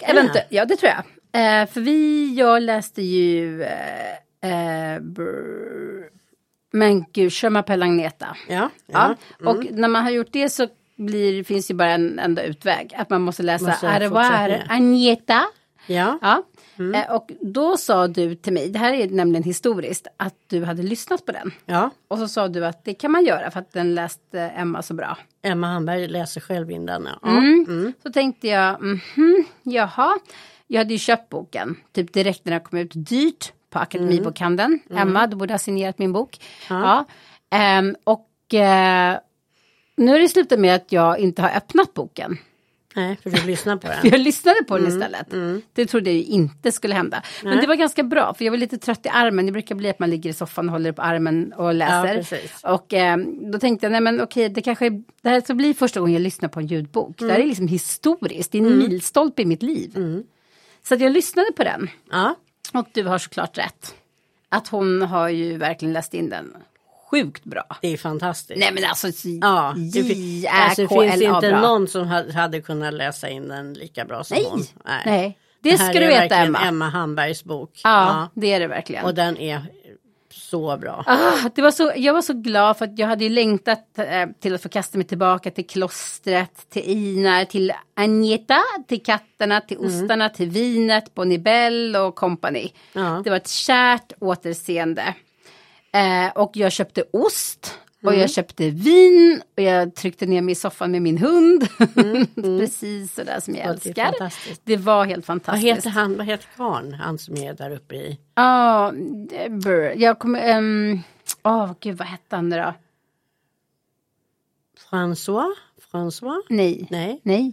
[SPEAKER 1] Eller inte, ja det tror jag. Eh, för vi, jag läste ju, eh, eh, brr, men gud, Je m'appelle Agneta.
[SPEAKER 2] Ja. ja.
[SPEAKER 1] Ja. mm. Och när man har gjort det så blir, finns ju bara en enda utväg. Att man måste läsa
[SPEAKER 2] Måste
[SPEAKER 1] Au revoir,
[SPEAKER 2] fortsättningen.
[SPEAKER 1] Agneta.
[SPEAKER 2] ja.
[SPEAKER 1] Ja. Eh, Och då sa du till mig, det här är nämligen historiskt, att du hade lyssnat på den.
[SPEAKER 2] ja.
[SPEAKER 1] Och så sa du att det kan man göra för att den läste Emma så bra.
[SPEAKER 2] Emma Hamberg läser själv in den. Ja.
[SPEAKER 1] Mm. Så tänkte jag, mhm, jaha. Jag hade ju köpt boken, typ direkt när den kom ut, dyrt på Akademibokhandeln. Emma, du borde ha signerat min bok. Ja. Ehm, och eh, nu är det slutat med att jag inte har öppnat boken.
[SPEAKER 2] Nej, för du lyssnar på
[SPEAKER 1] För [laughs]
[SPEAKER 2] den.
[SPEAKER 1] jag lyssnade på den
[SPEAKER 2] Mm,
[SPEAKER 1] istället. Det trodde jag ju inte skulle hända. Men det var ganska bra för jag var lite trött i armen. Det brukar bli att man ligger i soffan och håller upp armen och
[SPEAKER 2] Ja,
[SPEAKER 1] läser.
[SPEAKER 2] precis.
[SPEAKER 1] och eh, då tänkte jag, nej men okej, det kanske är, det här ska bli första gången jag lyssnar på en ljudbok. Det här
[SPEAKER 2] Mm.
[SPEAKER 1] är liksom historiskt, det är en milstolpe i mitt liv. Så att jag lyssnade på den.
[SPEAKER 2] Ja,
[SPEAKER 1] Och du har såklart rätt. Att hon har ju verkligen läst in den sjukt bra.
[SPEAKER 2] det är fantastiskt.
[SPEAKER 1] Nej men alltså,
[SPEAKER 2] Ja, det, fin- alltså, det finns
[SPEAKER 1] J-Ä-K-L-A
[SPEAKER 2] inte
[SPEAKER 1] bra.
[SPEAKER 2] någon som ha- hade kunnat läsa in den lika bra som
[SPEAKER 1] Nej,
[SPEAKER 2] hon.
[SPEAKER 1] nej. Det
[SPEAKER 2] här
[SPEAKER 1] ska
[SPEAKER 2] är
[SPEAKER 1] du veta,
[SPEAKER 2] verkligen
[SPEAKER 1] Emma.
[SPEAKER 2] Emma Hambergs bok.
[SPEAKER 1] Ja, det är det verkligen.
[SPEAKER 2] Ja, Och den är så bra.
[SPEAKER 1] Ah, det var så, jag var så glad för att jag hade ju längtat eh, till att få kasta mig tillbaka till klostret, till Inar, till Agneta, till katterna, till
[SPEAKER 2] Mm.
[SPEAKER 1] ostarna, till vinet, Bonibel och company.
[SPEAKER 2] Ja.
[SPEAKER 1] Det var ett kärt återseende. Eh, och jag köpte ost och
[SPEAKER 2] Mm.
[SPEAKER 1] jag köpte vin och jag tryckte ner mig i soffan med min hund. [laughs] Precis sådär som jag
[SPEAKER 2] Mm, Ja, det är
[SPEAKER 1] älskar.
[SPEAKER 2] fantastiskt.
[SPEAKER 1] Det var helt
[SPEAKER 2] Vad
[SPEAKER 1] fantastiskt.
[SPEAKER 2] heter han, vad heter karln, han som är där uppe i?
[SPEAKER 1] Ja, det- brr. jag kommer... Um, Åh, gud, vad hette han nu då?
[SPEAKER 2] François? François?
[SPEAKER 1] Nej.
[SPEAKER 2] Nej,
[SPEAKER 1] Nej.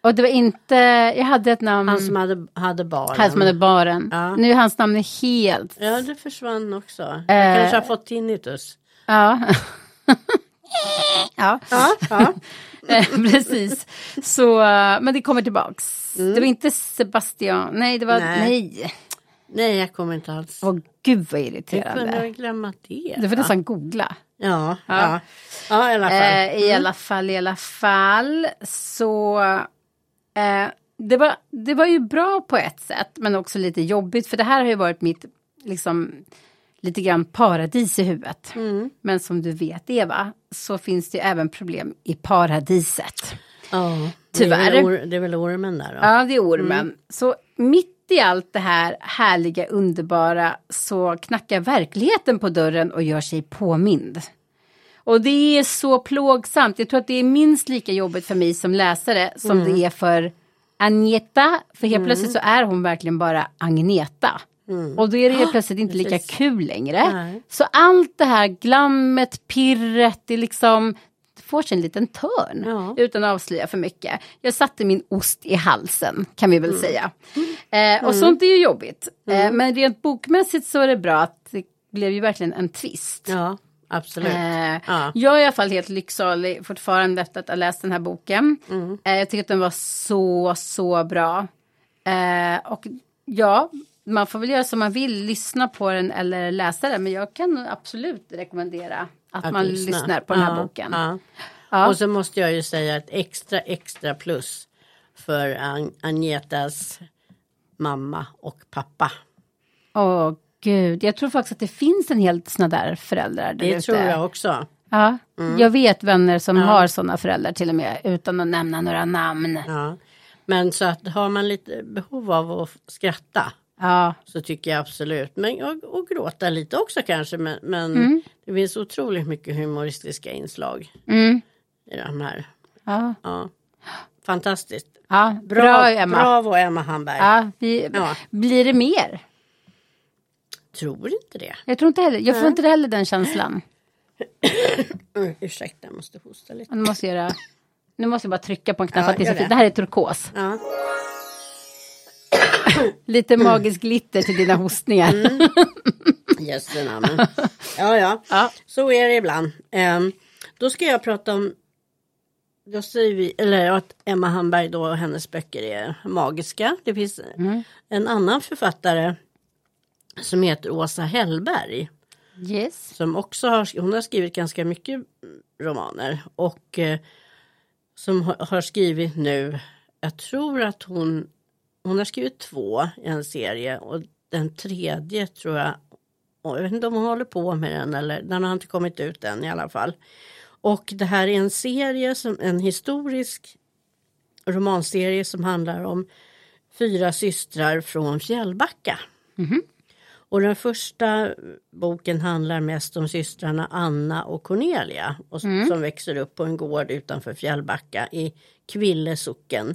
[SPEAKER 1] Och det var inte... Jag hade ett namn...
[SPEAKER 2] han som hade, hade barnen.
[SPEAKER 1] Han som hade baren.
[SPEAKER 2] Ja.
[SPEAKER 1] Nu är hans namn är helt...
[SPEAKER 2] Ja, det försvann också.
[SPEAKER 1] Eh.
[SPEAKER 2] Jag kanske har fått tinnitus.
[SPEAKER 1] Ja. ja. [laughs] Eh, [laughs] Precis. Så, eh, men det kommer tillbaks. Det var inte Sebastian. Nej, det var...
[SPEAKER 2] Mm. Nej.
[SPEAKER 1] Nej.
[SPEAKER 2] [laughs] Nej, jag kommer inte alls.
[SPEAKER 1] Åh, gud vad
[SPEAKER 2] Hur kunde
[SPEAKER 1] irriterande.
[SPEAKER 2] jag glömma det?
[SPEAKER 1] Du får nästan googla.
[SPEAKER 2] Ja, ja. ja. i alla fall. Mm.
[SPEAKER 1] Eh, I alla fall, i alla fall. Så eh, det, var, det var ju bra på ett sätt, men också lite jobbigt. För det här har ju varit mitt, liksom, lite grann paradis i huvudet.
[SPEAKER 2] Mm.
[SPEAKER 1] Men som du vet, Eva, så finns det ju även problem i paradiset.
[SPEAKER 2] Ja,
[SPEAKER 1] tyvärr.
[SPEAKER 2] Det är, väl or- det är väl ormen där då?
[SPEAKER 1] Ja, det är
[SPEAKER 2] Mm.
[SPEAKER 1] ormen. Så mitt i allt det här härliga, underbara så knackar verkligheten på dörren och gör sig påmind. Och det är så plågsamt. Jag tror att det är minst lika jobbigt för mig som läsare som
[SPEAKER 2] Mm.
[SPEAKER 1] det är för Agneta. För helt plötsligt så är hon verkligen bara Agneta. Och då är det helt plötsligt inte lika
[SPEAKER 2] Mm. Ah, precis.
[SPEAKER 1] kul längre.
[SPEAKER 2] Nej.
[SPEAKER 1] Så allt det här glammet, pirret, det liksom det får sig en liten törn.
[SPEAKER 2] Ja.
[SPEAKER 1] Utan att avslöja för mycket. Jag satte min ost i halsen kan vi väl
[SPEAKER 2] Mm.
[SPEAKER 1] säga. Eh, och sånt är ju jobbigt. Eh, men rent bokmässigt så är det bra att det blev ju verkligen en twist.
[SPEAKER 2] Ja, absolut.
[SPEAKER 1] Eh,
[SPEAKER 2] Ja.
[SPEAKER 1] Jag är i alla fall helt lycksalig fortfarande efter att ha läst den här boken.
[SPEAKER 2] Mm.
[SPEAKER 1] Eh, jag tycker att den var så, så bra. Eh, och ja, man får väl göra som man vill, lyssna på den eller läsa den. Men jag kan absolut rekommendera att,
[SPEAKER 2] Att
[SPEAKER 1] man
[SPEAKER 2] lyssna.
[SPEAKER 1] lyssnar på den här
[SPEAKER 2] Ja,
[SPEAKER 1] boken.
[SPEAKER 2] ja.
[SPEAKER 1] Ja.
[SPEAKER 2] Och så måste jag ju säga ett extra, extra plus för An- Agnetas mamma och pappa.
[SPEAKER 1] Åh gud, jag tror faktiskt att det finns en hel såna där föräldrar där
[SPEAKER 2] Det
[SPEAKER 1] ute.
[SPEAKER 2] tror jag Mm. också.
[SPEAKER 1] Ja, jag vet vänner som har såna föräldrar till och med utan att nämna några namn.
[SPEAKER 2] Ja. Men så att har man lite behov av att skratta
[SPEAKER 1] Ja,
[SPEAKER 2] så tycker jag absolut, men och, och gråta lite också kanske, men, men det finns otroligt mycket humoristiska inslag
[SPEAKER 1] mm.
[SPEAKER 2] i de här.
[SPEAKER 1] ja.
[SPEAKER 2] Ja. Fantastiskt.
[SPEAKER 1] ja. Bra, Emma.
[SPEAKER 2] Bravo Emma Hamberg.
[SPEAKER 1] Ja, vi,
[SPEAKER 2] Ja.
[SPEAKER 1] Blir det mer?
[SPEAKER 2] Tror inte det.
[SPEAKER 1] Jag tror inte heller, jag får inte heller den känslan.
[SPEAKER 2] Mm, ursäkta, jag måste hosta lite.
[SPEAKER 1] Nu måste jag, göra, nu måste jag bara trycka på en knapp.
[SPEAKER 2] Ja,
[SPEAKER 1] att det, är så
[SPEAKER 2] gör
[SPEAKER 1] fint.
[SPEAKER 2] det.
[SPEAKER 1] det här är turkos. [laughs]
[SPEAKER 2] Ja.
[SPEAKER 1] Lite
[SPEAKER 2] Mm.
[SPEAKER 1] magisk glitter till dina hostningar.
[SPEAKER 2] Just det, men. Ja, ja,
[SPEAKER 1] Ja.
[SPEAKER 2] Så är det ibland. Ehm, då ska jag prata om... Då säger vi, eller att Emma Hamberg då och hennes böcker är magiska. Det finns
[SPEAKER 1] Mm.
[SPEAKER 2] en annan författare som heter Åsa Hellberg.
[SPEAKER 1] Yes.
[SPEAKER 2] Som också har, hon har skrivit ganska mycket romaner. Och eh, som har, har skrivit nu, jag tror att hon, hon har skrivit två i en serie. Och den tredje tror jag, och jag vet inte om hon håller på med den eller den har inte kommit ut än i alla fall. Och det här är en serie, som, en historisk romanserie som handlar om fyra systrar från Fjällbacka. Och den första boken handlar mest om systrarna Anna och Cornelia och s- som växer upp på en gård utanför Fjällbacka i Kville socken.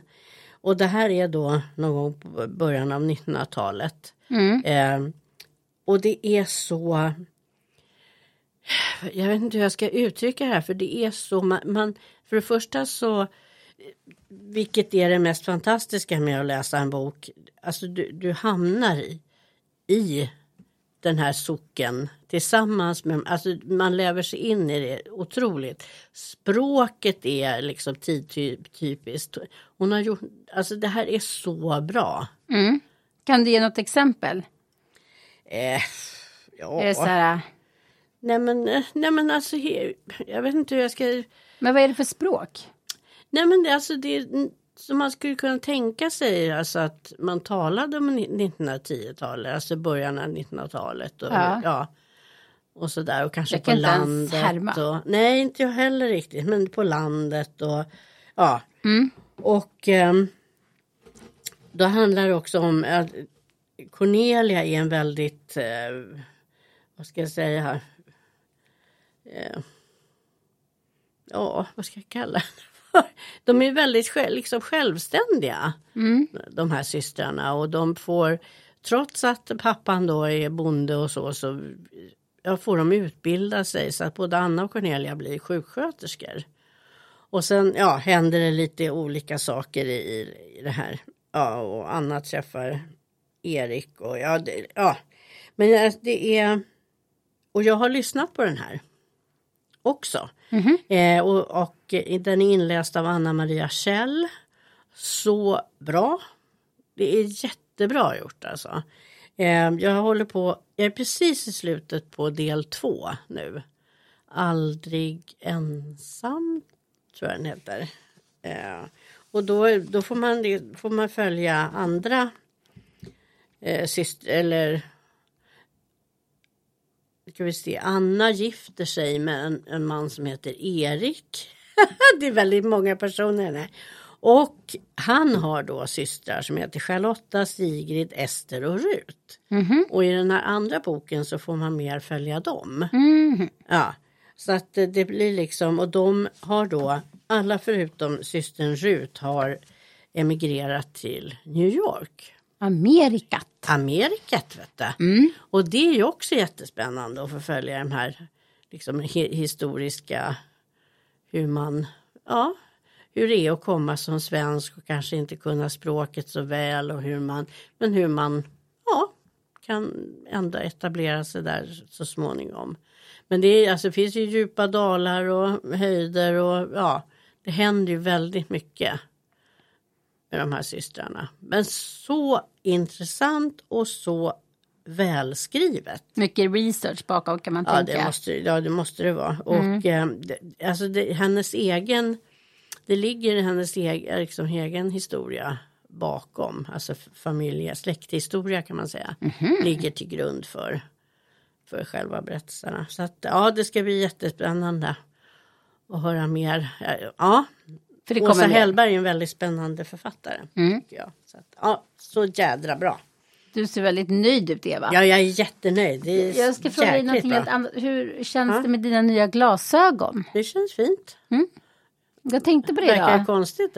[SPEAKER 2] Och det här är då någon gång på början av 1900-talet. Eh, och det är så jag vet inte hur jag ska uttrycka det här för det är så man, man för det första så vilket är det mest fantastiska med att läsa en bok, alltså du, du hamnar i, i den här socken tillsammans med, alltså man lever sig in i det otroligt. Språket är liksom tidtypiskt. Hon har gjort, alltså det här är så bra.
[SPEAKER 1] Mm. Kan du ge något exempel?
[SPEAKER 2] Eh, ja.
[SPEAKER 1] Är det så här,
[SPEAKER 2] Nej men, eh, nej men alltså, he- jag vet inte hur jag ska...
[SPEAKER 1] men vad är det för språk?
[SPEAKER 2] Nej men det, alltså det som man skulle kunna tänka sig alltså att man talade om 1910-talet, alltså början av 1900-talet och,
[SPEAKER 1] Ja.
[SPEAKER 2] ja. och sådär och kanske
[SPEAKER 1] Jag
[SPEAKER 2] på
[SPEAKER 1] kan inte ens
[SPEAKER 2] landet.
[SPEAKER 1] härma.
[SPEAKER 2] Och, nej inte jag heller riktigt men på landet och ja.
[SPEAKER 1] Mm.
[SPEAKER 2] Och ehm, då handlar det också om att Cornelia är en väldigt, eh, vad ska jag säga här, eh, ja, vad ska jag kalla det för? De är väldigt själv, liksom självständiga,
[SPEAKER 1] Mm.
[SPEAKER 2] de här systrarna. Och de får, trots att pappan då är bonde och så, så ja, får de utbilda sig. Så att både Anna och Cornelia blir sjuksköterskor. Och sen ja, händer det lite olika saker i, i det här. Ja, och Anna träffar Erik och ja, det, ja. Men jag- det är... Och jag har lyssnat på den här också. Eh, och, och eh, den är inläst av Anna Maria Kjell. Så bra. Det är jättebra gjort alltså. Eh, jag håller på, jag är precis i slutet på del två nu. Aldrig ensam, tror jag den heter. Eh, och då, då får, man, får man följa andra eh, syster, eller ska vi se, Anna gifter sig med en, en man som heter Erik. [laughs] det är väldigt många personer i den här. Och han har då systrar som heter Charlotta, Sigrid, Ester och Rut. Och i den här andra boken så får man mer följa dem. Ja, så att eh, det blir liksom, och de har då, alla förutom systern Rut har emigrerat till New York.
[SPEAKER 1] Amerikat.
[SPEAKER 2] Amerikat vet du. Och det är ju också jättespännande att få följa de här liksom, hi- historiska hur man, ja, hur det är att komma som svensk och kanske inte kunna språket så väl och hur man, men hur man, ja, kan ändå etablera sig där så småningom. Men det är, alltså, det finns ju djupa dalar och höjder och ja, det händer ju väldigt mycket med de här systrarna. Men så intressant och så välskrivet.
[SPEAKER 1] Mycket research bakom kan man
[SPEAKER 2] Ja
[SPEAKER 1] tänka.
[SPEAKER 2] det, måste, ja, det måste det vara. Och eh, det, alltså det, hennes egen, det ligger i hennes egen, liksom, egen historia bakom. Alltså f- familje, släkthistoria kan man säga. Ligger till grund för, för själva berättelserna. Så att, ja, det ska bli jättespännande att höra mer. Ja,
[SPEAKER 1] För det Mm.
[SPEAKER 2] Åsa
[SPEAKER 1] kommer mer.
[SPEAKER 2] Hellberg är en väldigt spännande författare. Tycker jag. Så, att, ja, så jädra bra.
[SPEAKER 1] Du ser väldigt nöjd ut Eva.
[SPEAKER 2] Ja, jag är jättenöjd. Det är
[SPEAKER 1] Jag ska fråga dig
[SPEAKER 2] jäkligt
[SPEAKER 1] någonting
[SPEAKER 2] bra.
[SPEAKER 1] helt annat. Hur känns det med dina nya glasögon?
[SPEAKER 2] Det känns fint.
[SPEAKER 1] Jag tänkte på det
[SPEAKER 2] Verkar
[SPEAKER 1] idag.
[SPEAKER 2] det konstigt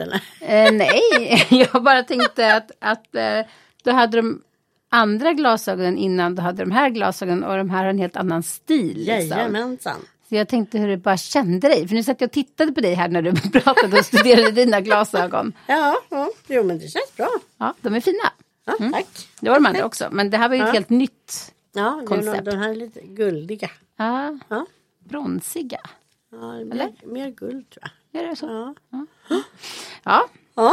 [SPEAKER 1] [laughs]
[SPEAKER 2] eller?
[SPEAKER 1] Eh, nej, [laughs] jag bara tänkte att, att eh, du hade de andra glasögonen innan du hade de här glasögonen och de här har en helt annan stil. Liksom.
[SPEAKER 2] Jajamensan.
[SPEAKER 1] Så jag tänkte hur det bara kände dig. För nu satt jag och tittade på dig här när du [laughs] pratade och studerade dina glasögon.
[SPEAKER 2] Ja, ja, jo men det känns bra.
[SPEAKER 1] Ja, de är fina.
[SPEAKER 2] Ja,
[SPEAKER 1] Mm.
[SPEAKER 2] Tack.
[SPEAKER 1] Det var de andra också. Men det här var ju ett helt nytt.
[SPEAKER 2] Ja, det är
[SPEAKER 1] Koncept.
[SPEAKER 2] nog- de här är lite guldiga.
[SPEAKER 1] Ja,
[SPEAKER 2] Ja,
[SPEAKER 1] bronsiga.
[SPEAKER 2] ja mer, mer guld tror jag.
[SPEAKER 1] Är det så?
[SPEAKER 2] Ja.
[SPEAKER 1] Ja,
[SPEAKER 2] Ja.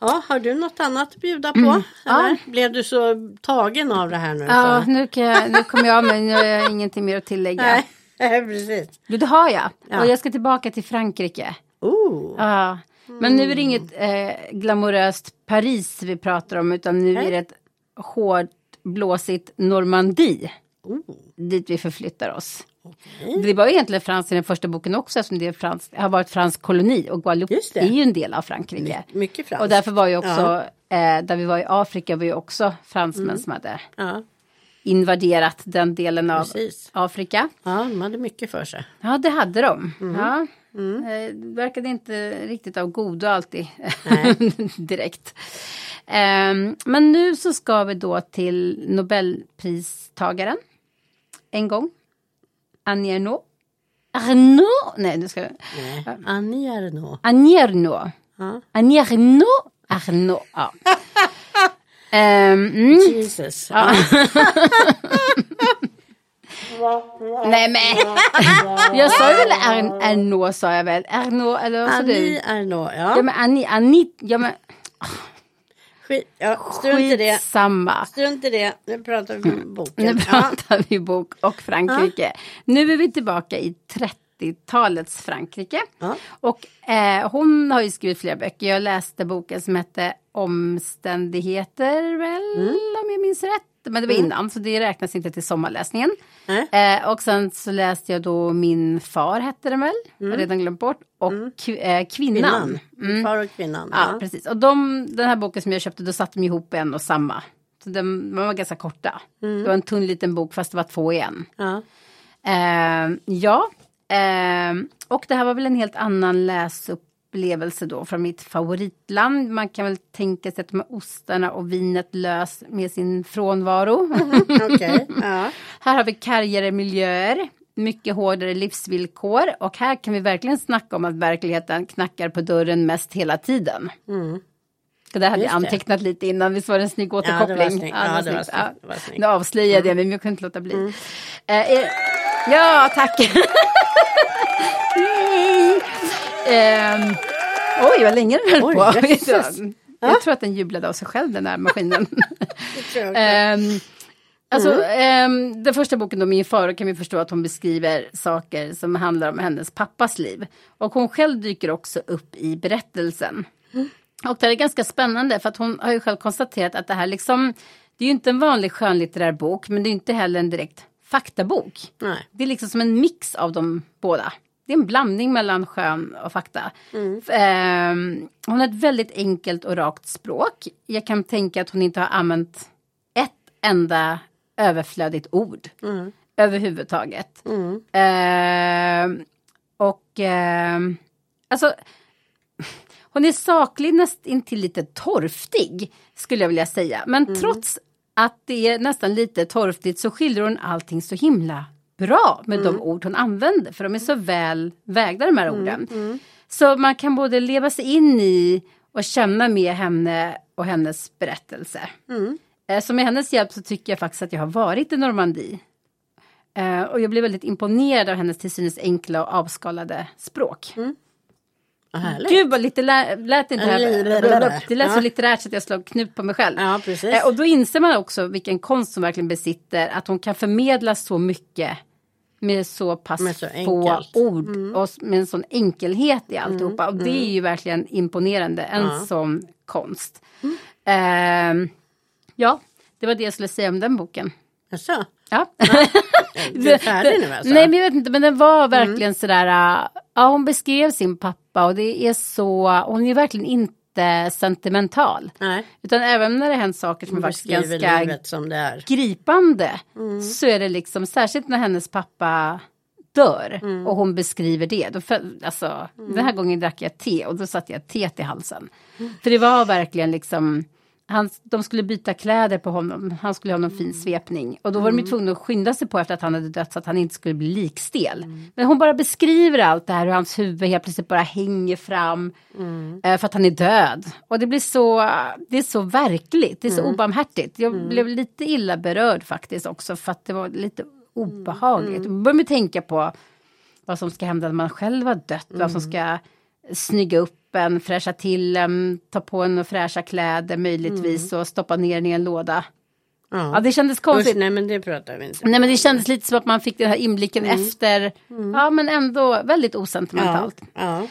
[SPEAKER 2] ja, har du något annat att bjuda på?
[SPEAKER 1] Mm.
[SPEAKER 2] Eller? Blev du så tagen av det här nu?
[SPEAKER 1] ja nu, kan jag, nu kommer jag av mig. Nu har jag ingenting mer att tillägga.
[SPEAKER 2] Nej, [laughs] precis.
[SPEAKER 1] Jo, det har jag.
[SPEAKER 2] Ja.
[SPEAKER 1] Och jag ska tillbaka till Frankrike.
[SPEAKER 2] Oh.
[SPEAKER 1] Ja. Men nu är det inget eh, glamoröst Paris vi pratar om, utan nu är det ett hårt, blåsigt Normandie
[SPEAKER 2] Oh.
[SPEAKER 1] dit vi förflyttar oss.
[SPEAKER 2] Okej.
[SPEAKER 1] Det var ju egentligen Frans i den första boken också, eftersom det är Frans, har varit fransk koloni och Guadeloupe
[SPEAKER 2] Just det. Mm.
[SPEAKER 1] är ju en del av Frankrike.
[SPEAKER 2] Mycket franskt.
[SPEAKER 1] Och därför var ju också, eh, där vi var i Afrika var ju också fransmän som hade
[SPEAKER 2] Ja,
[SPEAKER 1] invaderat den delen av
[SPEAKER 2] precis.
[SPEAKER 1] Afrika.
[SPEAKER 2] Ja, de hade mycket för sig.
[SPEAKER 1] Ja, det hade de. Ja. Eh, verkade inte riktigt av godo alltid. [laughs] Direkt. Ehm, men nu så ska vi då till Nobelpristagaren. En gång. Annie Ernaux. Arnaud, nej nu ska jag...
[SPEAKER 2] Nej, Annie är det nog.
[SPEAKER 1] Agnerno.
[SPEAKER 2] Ja.
[SPEAKER 1] Agnerno, Arnaud. Ja. Ehm, mm.
[SPEAKER 2] Jesus.
[SPEAKER 1] Nej men. jag sa ju väl Ar- Arnaud sa jag väl. Arnaud eller vad sa du?
[SPEAKER 2] Annie är nog,
[SPEAKER 1] alltså Ja
[SPEAKER 2] ja.
[SPEAKER 1] men Annie, Annie, ja men
[SPEAKER 2] Skit, ja strunt i det.
[SPEAKER 1] skitsamma.
[SPEAKER 2] Strunt i det. Nu pratar vi om
[SPEAKER 1] Nu
[SPEAKER 2] boken. Ja.
[SPEAKER 1] pratar vi bok och Frankrike. Nu är vi tillbaka i 30-talets Frankrike.
[SPEAKER 2] Ja.
[SPEAKER 1] Och eh, hon har ju skrivit flera böcker. Jag läste boken som hette Omständigheter väl,
[SPEAKER 2] Mm.
[SPEAKER 1] om jag minns rätt. Men det var innan, så det räknas inte till sommarläsningen.
[SPEAKER 2] Nej.
[SPEAKER 1] Eh, och sen så läste jag då Min far hette den väl, jag har redan glömt bort. Och Kv- eh, Kvinnan.
[SPEAKER 2] Mm.
[SPEAKER 1] Mm.
[SPEAKER 2] Kvinnan. Far och kvinnan.
[SPEAKER 1] Ja,
[SPEAKER 2] Ja.
[SPEAKER 1] precis. Och de, den här boken som jag köpte, då satte de ihop en och samma. Så de, de var ganska korta. Det var en tunn liten bok fast det var två i en.
[SPEAKER 2] Ja.
[SPEAKER 1] Ehm, ja, ehm, och det här var väl en helt annan läsupplevelse då från mitt favoritland. Man kan väl tänka sig att de här ostarna och vinet lös med sin frånvaro.
[SPEAKER 2] Okej. Ja.
[SPEAKER 1] Här har vi kargare miljöer, mycket hårdare livsvillkor och här kan vi verkligen snacka om att verkligheten knackar på dörren mest hela tiden. Det där hade jag
[SPEAKER 2] Mm. Just det.
[SPEAKER 1] antecknat lite innan, visst var det en snygg återkoppling?
[SPEAKER 2] snyggt. Ja, det var
[SPEAKER 1] snyggt.
[SPEAKER 2] snyggt. Det var snyggt. Mm.
[SPEAKER 1] Nu avslöjade jag det, men jag kunde inte låta bli. Eh, eh, ja, tack! [laughs] Yay. Ehm, oj, vad länge den höll
[SPEAKER 2] Oj,
[SPEAKER 1] på.
[SPEAKER 2] jösses.
[SPEAKER 1] Jag tror att den jublade av sig själv, den där maskinen. [laughs]
[SPEAKER 2] Det tror jag också.
[SPEAKER 1] Ehm, alltså, ehm, den första boken om min far kan vi förstå att hon beskriver saker som handlar om hennes pappas liv. Och hon själv dyker också upp i berättelsen. Och det här är ganska spännande för att hon har ju själv konstaterat att det här liksom, det är ju inte en vanlig skönlitterär bok men det är ju inte heller en direkt faktabok.
[SPEAKER 2] Nej.
[SPEAKER 1] Det är liksom som en mix av de båda. Det är en blandning mellan skön och fakta. F- ehm, hon har ett väldigt enkelt och rakt språk. Jag kan tänka att hon inte har använt ett enda överflödigt ord överhuvudtaget. Ehm, och ehm, alltså hon är saklig nästan till lite torftig skulle jag vilja säga. Men trots att det är nästan lite torftigt så skildrar hon allting så himla bra med de ord hon använder. För de är så väl vägda de här orden. Så man kan både leva sig in i och känna med henne och hennes berättelse. Eh, Så med hennes hjälp så tycker jag faktiskt att jag har varit i Normandie. Eh, Och jag blev väldigt imponerad av hennes till synes enkla och avskalade språk.
[SPEAKER 2] Vad härligt.
[SPEAKER 1] Gud vad lite lä- lät inte det här. Det lät så litterärt så att jag slog knut på mig själv.
[SPEAKER 2] Ja, precis.
[SPEAKER 1] Eh, Och då inser man också vilken konst hon verkligen besitter. Att hon kan förmedla så mycket med så pass
[SPEAKER 2] Med så
[SPEAKER 1] få
[SPEAKER 2] enkelt. Mm.
[SPEAKER 1] ord. Och s- med en sån enkelhet i alltihopa. Och det är ju verkligen imponerande. En sån konst.
[SPEAKER 2] Mm.
[SPEAKER 1] Ehm, ja, det var det jag skulle säga om den boken.
[SPEAKER 2] Jaså?
[SPEAKER 1] Ja.
[SPEAKER 2] Du är färdig nu alltså? Mm.
[SPEAKER 1] Nej men jag vet inte, men den var verkligen sådär, äh, ja hon beskrev sin pappa och det är så, hon är verkligen inte sentimental.
[SPEAKER 2] Nej.
[SPEAKER 1] Utan även när det hänt saker som
[SPEAKER 2] Hon
[SPEAKER 1] är faktiskt
[SPEAKER 2] beskriver
[SPEAKER 1] ganska
[SPEAKER 2] livet Mm. som det är.
[SPEAKER 1] gripande så är det liksom, särskilt när hennes pappa dör
[SPEAKER 2] Mm.
[SPEAKER 1] och hon beskriver det. Då, föll- alltså, Den här gången drack jag te och då satte jag teet i halsen. För det var verkligen liksom, han, de skulle byta kläder på honom, han skulle ha någon
[SPEAKER 2] Mm.
[SPEAKER 1] fin svepning. Och då var de ju tvungna att skynda sig på efter att han hade dött så att han inte skulle bli likstel. Men hon bara beskriver allt det här, hur hans huvud helt plötsligt bara hänger fram eh, för att han är död. Och det blir så, det är så verkligt, det är så obarmhärtigt. Jag blev lite illa berörd faktiskt också för att det var lite obehagligt. Jag började tänka på vad som ska hända när man själv har dött, vad som ska snygga upp en, fräscha till en, ta på en och fräscha kläder möjligtvis och stoppa ner den i en låda.
[SPEAKER 2] Ja.
[SPEAKER 1] Ja, det kändes
[SPEAKER 2] Usch,
[SPEAKER 1] konstigt. Mm,
[SPEAKER 2] nej men det pratar vi inte om.
[SPEAKER 1] Nej men det kändes lite som att man fick den här inblicken
[SPEAKER 2] Mm.
[SPEAKER 1] efter, ja men ändå väldigt
[SPEAKER 2] Ja.
[SPEAKER 1] osentimentalt.
[SPEAKER 2] Ja.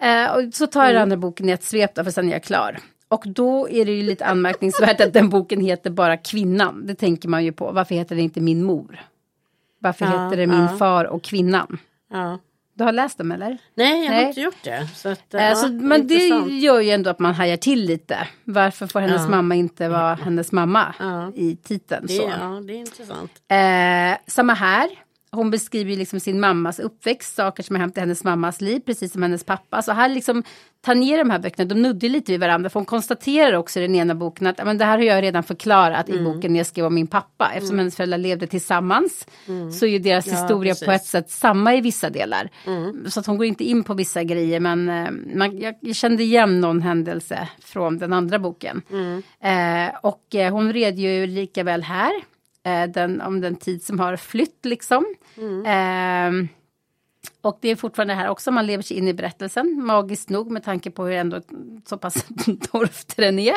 [SPEAKER 2] Mm.
[SPEAKER 1] Eh, och så tar jag den andra boken i ett svep då, för sen är jag klar. Och då är det ju lite anmärkningsvärt att den boken heter bara Kvinnan. Det tänker man ju på. Varför heter den inte Min mor? Varför
[SPEAKER 2] Ja,
[SPEAKER 1] heter det Min
[SPEAKER 2] ja.
[SPEAKER 1] far och Kvinnan?
[SPEAKER 2] ja.
[SPEAKER 1] Du har läst dem eller?
[SPEAKER 2] Nej, jag har
[SPEAKER 1] Nej.
[SPEAKER 2] inte gjort det. Så att,
[SPEAKER 1] Eh,
[SPEAKER 2] ja,
[SPEAKER 1] så, men det
[SPEAKER 2] intressant.
[SPEAKER 1] gör ju ändå att man hajar till lite. Varför får hennes
[SPEAKER 2] Ja.
[SPEAKER 1] mamma inte vara hennes mamma
[SPEAKER 2] Ja.
[SPEAKER 1] i titeln?
[SPEAKER 2] det,
[SPEAKER 1] så.
[SPEAKER 2] ja, det är intressant.
[SPEAKER 1] Eh, samma här. hon beskriver ju liksom sin mammas uppväxt, saker som har hänt i hennes mammas liv, precis som hennes pappa. Så här liksom tangerar de här böckerna, de nuddar ju lite vid varandra. För hon konstaterar också i den ena boken att "Ja, men det här har jag redan förklarat i boken när jag skrev om min pappa. Eftersom hennes föräldrar levde tillsammans så är ju deras historia
[SPEAKER 2] precis.
[SPEAKER 1] på ett sätt samma i vissa delar. Så att hon går inte in på vissa grejer men eh, man, jag, jag kände igen någon händelse från den andra boken. Eh, och eh, hon redogör lika väl här eh, den, om den tid som har flytt liksom. Ehm, och det är fortfarande här också, man lever sig in i berättelsen, magiskt nog med tanke på hur ändå så pass [laughs] torftig den är.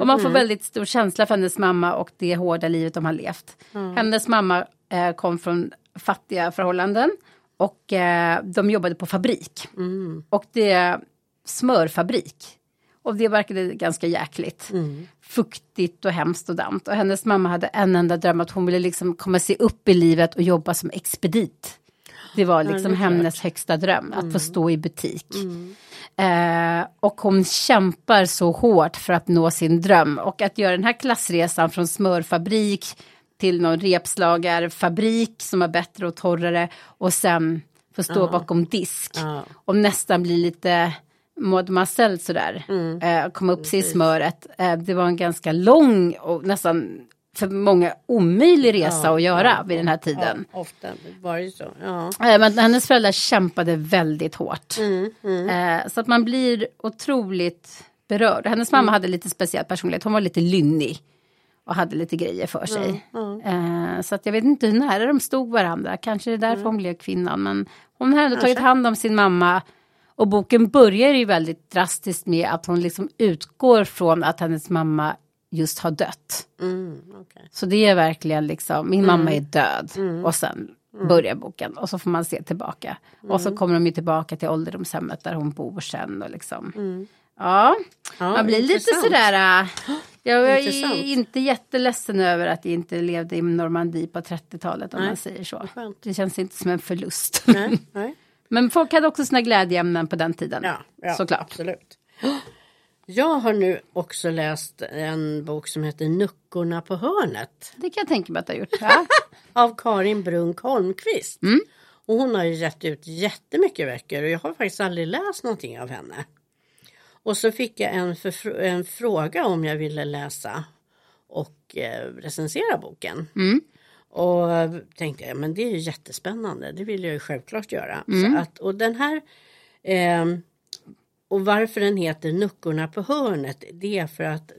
[SPEAKER 1] och man får väldigt stor känsla för hennes mamma och det hårda livet de har levt. Hennes mamma eh, kom från fattiga förhållanden och eh, de jobbade på fabrik. Och det är smörfabrik. Och det verkade ganska jäkligt. Fuktigt och hemskt och damt. Och hennes mamma hade en enda dröm att hon ville liksom komma sig upp i livet och jobba som expedit. Det var liksom hennes högsta dröm,
[SPEAKER 2] Mm.
[SPEAKER 1] att få stå i butik. Eh, och hon kämpar så hårt för att nå sin dröm. Och att göra den här klassresan från smörfabrik till någon repslagarfabrik som var bättre och torrare och sen få stå bakom disk
[SPEAKER 2] Ja.
[SPEAKER 1] och nästan bli lite Maud Marcel sådär,
[SPEAKER 2] Mm.
[SPEAKER 1] eh, och komma upp sig i smöret. Eh, det var en ganska lång och nästan för många omöjlig resa att göra vid den här tiden.
[SPEAKER 2] Ja, ofta var det ju så. Ja.
[SPEAKER 1] Eh, Men hennes föräldrar kämpade väldigt hårt. Eh, Så att man blir otroligt berörd. Hennes mamma hade lite speciell personlighet. Hon var lite lynnig. Och hade lite grejer för sig. Eh, Så att jag vet inte hur nära de stod varandra. Kanske det är därför hon blev kvinnan. Men hon har ändå tagit hand om sin mamma. Och boken börjar ju väldigt drastiskt med att hon liksom utgår från att hennes mamma just har dött.
[SPEAKER 2] Mm, okej.
[SPEAKER 1] Så det är verkligen liksom, min
[SPEAKER 2] Mm.
[SPEAKER 1] mamma är död och sen börjar boken och så får man se tillbaka. Och
[SPEAKER 2] Mm.
[SPEAKER 1] så kommer de ju tillbaka till ålderdomshemmet där hon bor sen och liksom. Ja,
[SPEAKER 2] Mm. Ja,
[SPEAKER 1] man blir lite
[SPEAKER 2] intressant.
[SPEAKER 1] sådär. Äh, jag
[SPEAKER 2] Intressant.
[SPEAKER 1] är inte jätteledsen över att jag inte levde i Normandie på 30-talet om man säger så.
[SPEAKER 2] skönt.
[SPEAKER 1] Det känns inte som en förlust.
[SPEAKER 2] Nej, nej.
[SPEAKER 1] [laughs] Men folk hade också sina glädjeämnen på den tiden.
[SPEAKER 2] Ja, ja,
[SPEAKER 1] såklart.
[SPEAKER 2] Absolut. Jag har nu också läst en bok som heter Nuckorna på hörnet
[SPEAKER 1] Det kan jag tänka mig att jag har gjort. Ja.
[SPEAKER 2] av Karin Brunk Holmqvist.
[SPEAKER 1] Mm.
[SPEAKER 2] Och hon har ju gett ut jättemycket böcker och jag har faktiskt aldrig läst någonting av henne. Och så fick jag en, förfr- en fråga om jag ville läsa och eh, recensera boken.
[SPEAKER 1] Mm,
[SPEAKER 2] Och tänkte jag, men det är ju jättespännande, det vill jag ju självklart göra. Så att, och den här ehm, och varför den heter Nuckorna på hörnet det är för att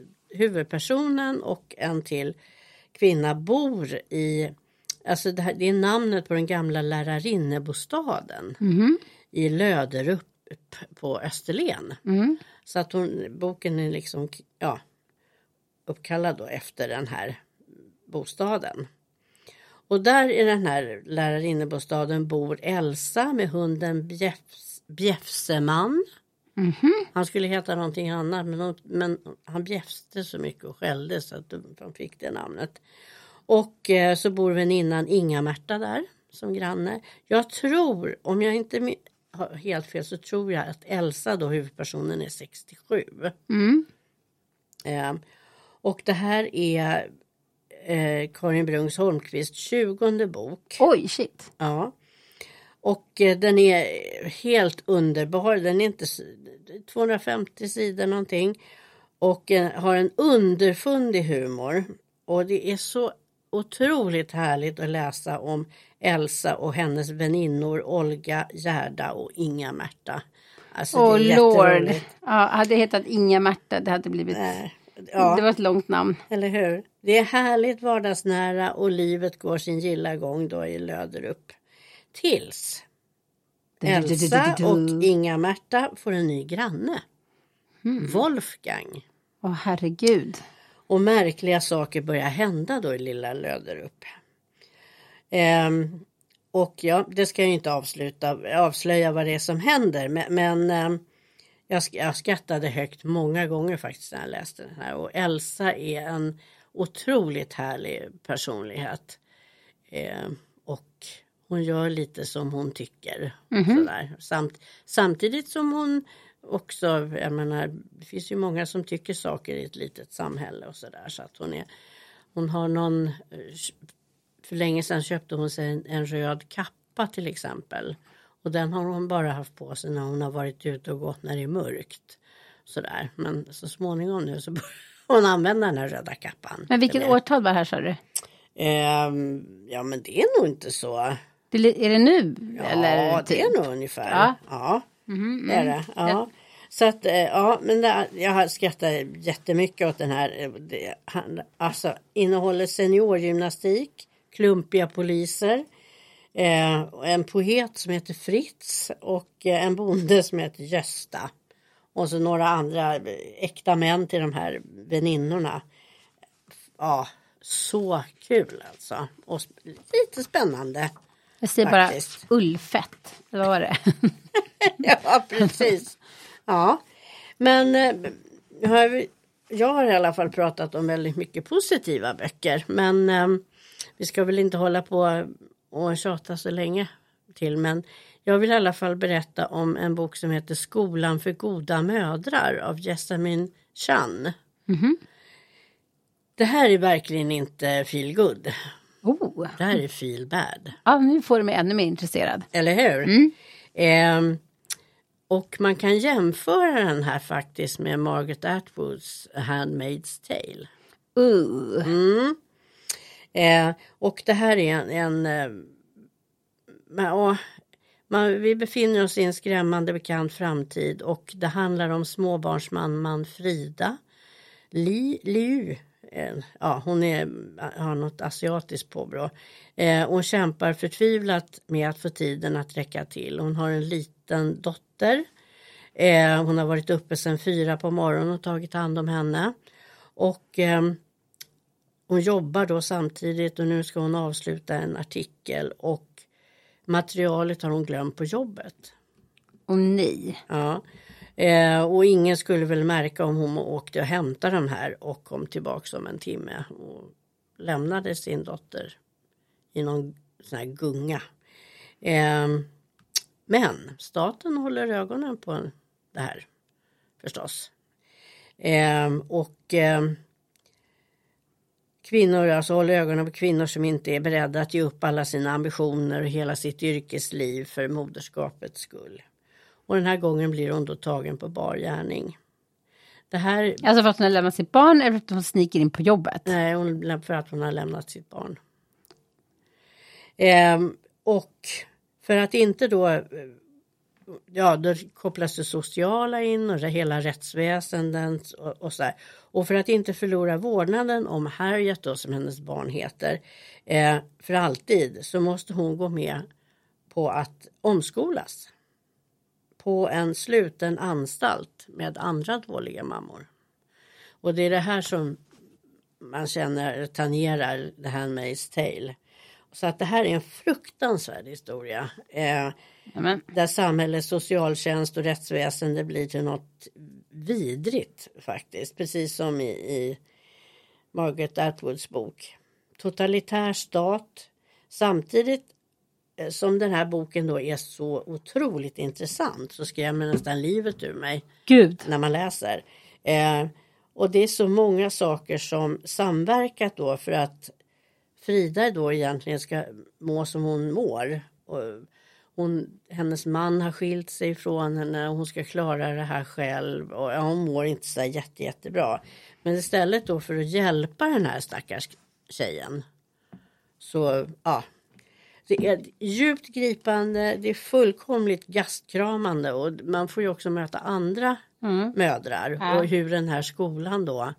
[SPEAKER 2] huvudpersonen och en till kvinna bor i, alltså det, här, det är namnet på den gamla lärarinnebostaden
[SPEAKER 1] Mm. mhm,
[SPEAKER 2] i Löderup på Österlen.
[SPEAKER 1] mhm,
[SPEAKER 2] Så att hon, boken är liksom ja, uppkallad då efter den här bostaden. Och där i den här lärarinnebostaden bor Elsa med hunden Bjäfs, Bjäfseman. Han skulle heta någonting annat men, de, men han bjäfste så mycket och skällde så att de, de fick det namnet. Och eh, så bor väninnan Inga-Märta där som granne. Jag tror, om jag inte min- har helt fel, så tror jag att Elsa då huvudpersonen är 67.
[SPEAKER 1] mm.
[SPEAKER 2] Eh, och det här är eh, Karin Brungs Holmqvists 20 bok.
[SPEAKER 1] Oj, shit.
[SPEAKER 2] Ja. Och eh, den är helt underbar. Den är inte s- 250 sidor någonting. Och eh, har en underfundig humor. Och det är så otroligt härligt att läsa om Elsa och hennes väninnor Olga, Gerda och Inga-Märta. Alltså,
[SPEAKER 1] Åh,
[SPEAKER 2] det är
[SPEAKER 1] lord.
[SPEAKER 2] jätteroligt.
[SPEAKER 1] Ja, hade jag hetat Inga-Märta, det hade blivit...
[SPEAKER 2] Nej, Ja.
[SPEAKER 1] Det var ett långt namn.
[SPEAKER 2] Eller hur? Det är härligt vardagsnära och livet går sin gilla gång då i Löderup. Tills Elsa och Inga-Märta får en ny granne. Wolfgang.
[SPEAKER 1] Åh herregud.
[SPEAKER 2] Och märkliga saker börjar hända då i lilla Löderup. Ehm, och ja, det ska jag ju inte avsluta, avslöja vad det är som händer. Men, men ehm, jag, sk- jag skrattade högt många gånger faktiskt när jag läste den här. Och Elsa är en otroligt härlig personlighet. Ehm, och hon gör lite som hon tycker.
[SPEAKER 1] Mhm.
[SPEAKER 2] Sådär. Samt, samtidigt som hon också, jag menar, det finns ju många som tycker saker i ett litet samhälle och sådär. Så att hon är, hon har någon eh, För länge sedan köpte hon sig en, en röd kappa till exempel. Och den har hon bara haft på sig när hon har varit ute och gått när det är mörkt. Sådär. Men så småningom nu så [laughs] börjar hon använda den här röda kappan.
[SPEAKER 1] Men vilket
[SPEAKER 2] Eller,
[SPEAKER 1] årtal var det här sa du?
[SPEAKER 2] ehm, ja men det är nog inte så.
[SPEAKER 1] Det, li- är det nu?
[SPEAKER 2] Ja
[SPEAKER 1] eller
[SPEAKER 2] det
[SPEAKER 1] typ?
[SPEAKER 2] är nog ungefär.
[SPEAKER 1] Ja. Mhm, mm.
[SPEAKER 2] Ja. Det är det. Ja. Så att, eh, ja, men det, jag skrattar jättemycket åt den här. eh, Det, han, alltså, innehåller seniorgymnastik, klumpiga poliser, eh, och en poet som heter Fritz och eh, en bonde som heter Gösta. Och så några andra eh, äkta män till de här väninnorna. Ja, så kul alltså. Och sp- lite spännande.
[SPEAKER 1] Jag säger bara
[SPEAKER 2] Faktiskt.
[SPEAKER 1] ullfett. Vad var det? [laughs]
[SPEAKER 2] Ja, precis. Ja, men eh, jag har- jag har i alla fall pratat om väldigt mycket positiva böcker. Men eh, vi ska väl inte hålla på och tjata så länge till. Men jag vill i alla fall berätta om en bok som heter Skolan för goda mödrar av Jessamine Chan. Det här är verkligen inte feel good.
[SPEAKER 1] Oh,
[SPEAKER 2] Det här är feel bad.
[SPEAKER 1] ja, nu får du mig ännu mer intresserad.
[SPEAKER 2] Eller hur? Ehm, och man kan jämföra den här faktiskt med Margaret Atwoods Handmaid's Tale.
[SPEAKER 1] Uh.
[SPEAKER 2] Eh, och det här är en... en eh, men, ja, man, vi befinner oss i en skrämmande bekant framtid och det handlar om småbarnsmamman Frida Li, Liu. Eh, ja, hon är, har något asiatiskt påbrå. Eh, hon kämpar förtvivlat med att få tiden att räcka till. Hon har en liten dotter. Eh, hon har varit uppe sedan fyra på morgonen och tagit hand om henne. Och... ehm, hon jobbar då samtidigt och nu ska hon avsluta en artikel och materialet har hon glömt på jobbet.
[SPEAKER 1] Och nej.
[SPEAKER 2] Ja. Eh, och ingen skulle väl märka om hon åkte och hämtade den här och kom tillbaks om en timme och lämnade sin dotter i någon sån här gunga. Eh, men staten håller ögonen på det här förstås. Eh, och eh, kvinnor, alltså håller ögonen på kvinnor som inte är beredda att ge upp alla sina ambitioner och hela sitt yrkesliv för moderskapets skull. Och den här gången blir hon då tagen på bar gärning. Det här,
[SPEAKER 1] Alltså för att hon har lämnat sitt barn eller för att hon sniker in på jobbet.
[SPEAKER 2] nej, hon, läm- för att hon har lämnat sitt barn. Ehm, och för att inte då, eh, ja, då kopplas det sociala in och det hela rättsväsendet och, och så här. Och för att inte förlora vårdnaden om Harriet då, som hennes barn heter, eh, för alltid så måste hon gå med på att omskolas på en sluten anstalt med andra dåliga mammor. Och det är det här som man känner tangerar The Handmaid's Tale. Så att det här är en fruktansvärd historia. Eh,
[SPEAKER 1] Amen.
[SPEAKER 2] där samhällets socialtjänst och rättsväsende blir till något vidrigt faktiskt. Precis som i, i Margaret Atwoods bok. Totalitär stat. Samtidigt eh, som den här boken då är så otroligt intressant så skrämmer nästan livet ur mig
[SPEAKER 1] Gud.
[SPEAKER 2] när man läser. Eh, och det är så många saker som samverkat då för att Frida då egentligen ska må som hon mår. Och hon, hennes man har skilt sig ifrån henne och hon ska klara det här själv. Och ja, hon mår inte så där jätte, jättebra. Men istället då för att hjälpa den här stackars tjejen. Så ja, det är djupt gripande, det är fullkomligt gastkramande och man får ju också möta andra mödrar
[SPEAKER 1] Mm. Ja.
[SPEAKER 2] och hur den här skolan då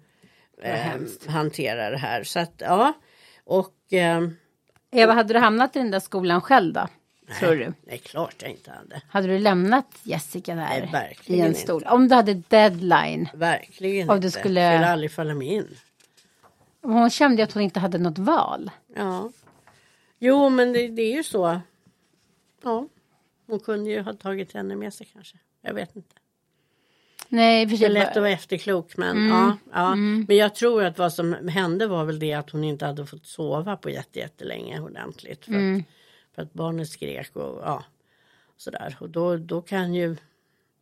[SPEAKER 2] eh, hanterar det här. Så att ja, och eh,
[SPEAKER 1] Eva, hade du hamnat i den där skolan själv då? Tror du?
[SPEAKER 2] nej, klart jag inte hade.
[SPEAKER 1] Hade du lämnat Jessica där?
[SPEAKER 2] Nej,
[SPEAKER 1] I
[SPEAKER 2] verkligen
[SPEAKER 1] en
[SPEAKER 2] inte.
[SPEAKER 1] stol? Om du hade deadline.
[SPEAKER 2] Verkligen
[SPEAKER 1] Om du
[SPEAKER 2] inte.
[SPEAKER 1] skulle-
[SPEAKER 2] Skulle aldrig falla mig in.
[SPEAKER 1] Hon kände ju att hon inte hade något val.
[SPEAKER 2] Ja. Jo, men det, det är ju så. Ja, hon kunde ju ha tagit henne med sig kanske. Jag vet inte.
[SPEAKER 1] Nej, i och för
[SPEAKER 2] Det är Mm,
[SPEAKER 1] sig.
[SPEAKER 2] lätt att
[SPEAKER 1] bara-
[SPEAKER 2] vara efterklok men ja. ja. Men jag tror att vad som hände var väl det att hon inte hade fått sova på jätte, jättelänge ordentligt. För, att, för att barnet skrek och ja. Sådär. Och då, då kan ju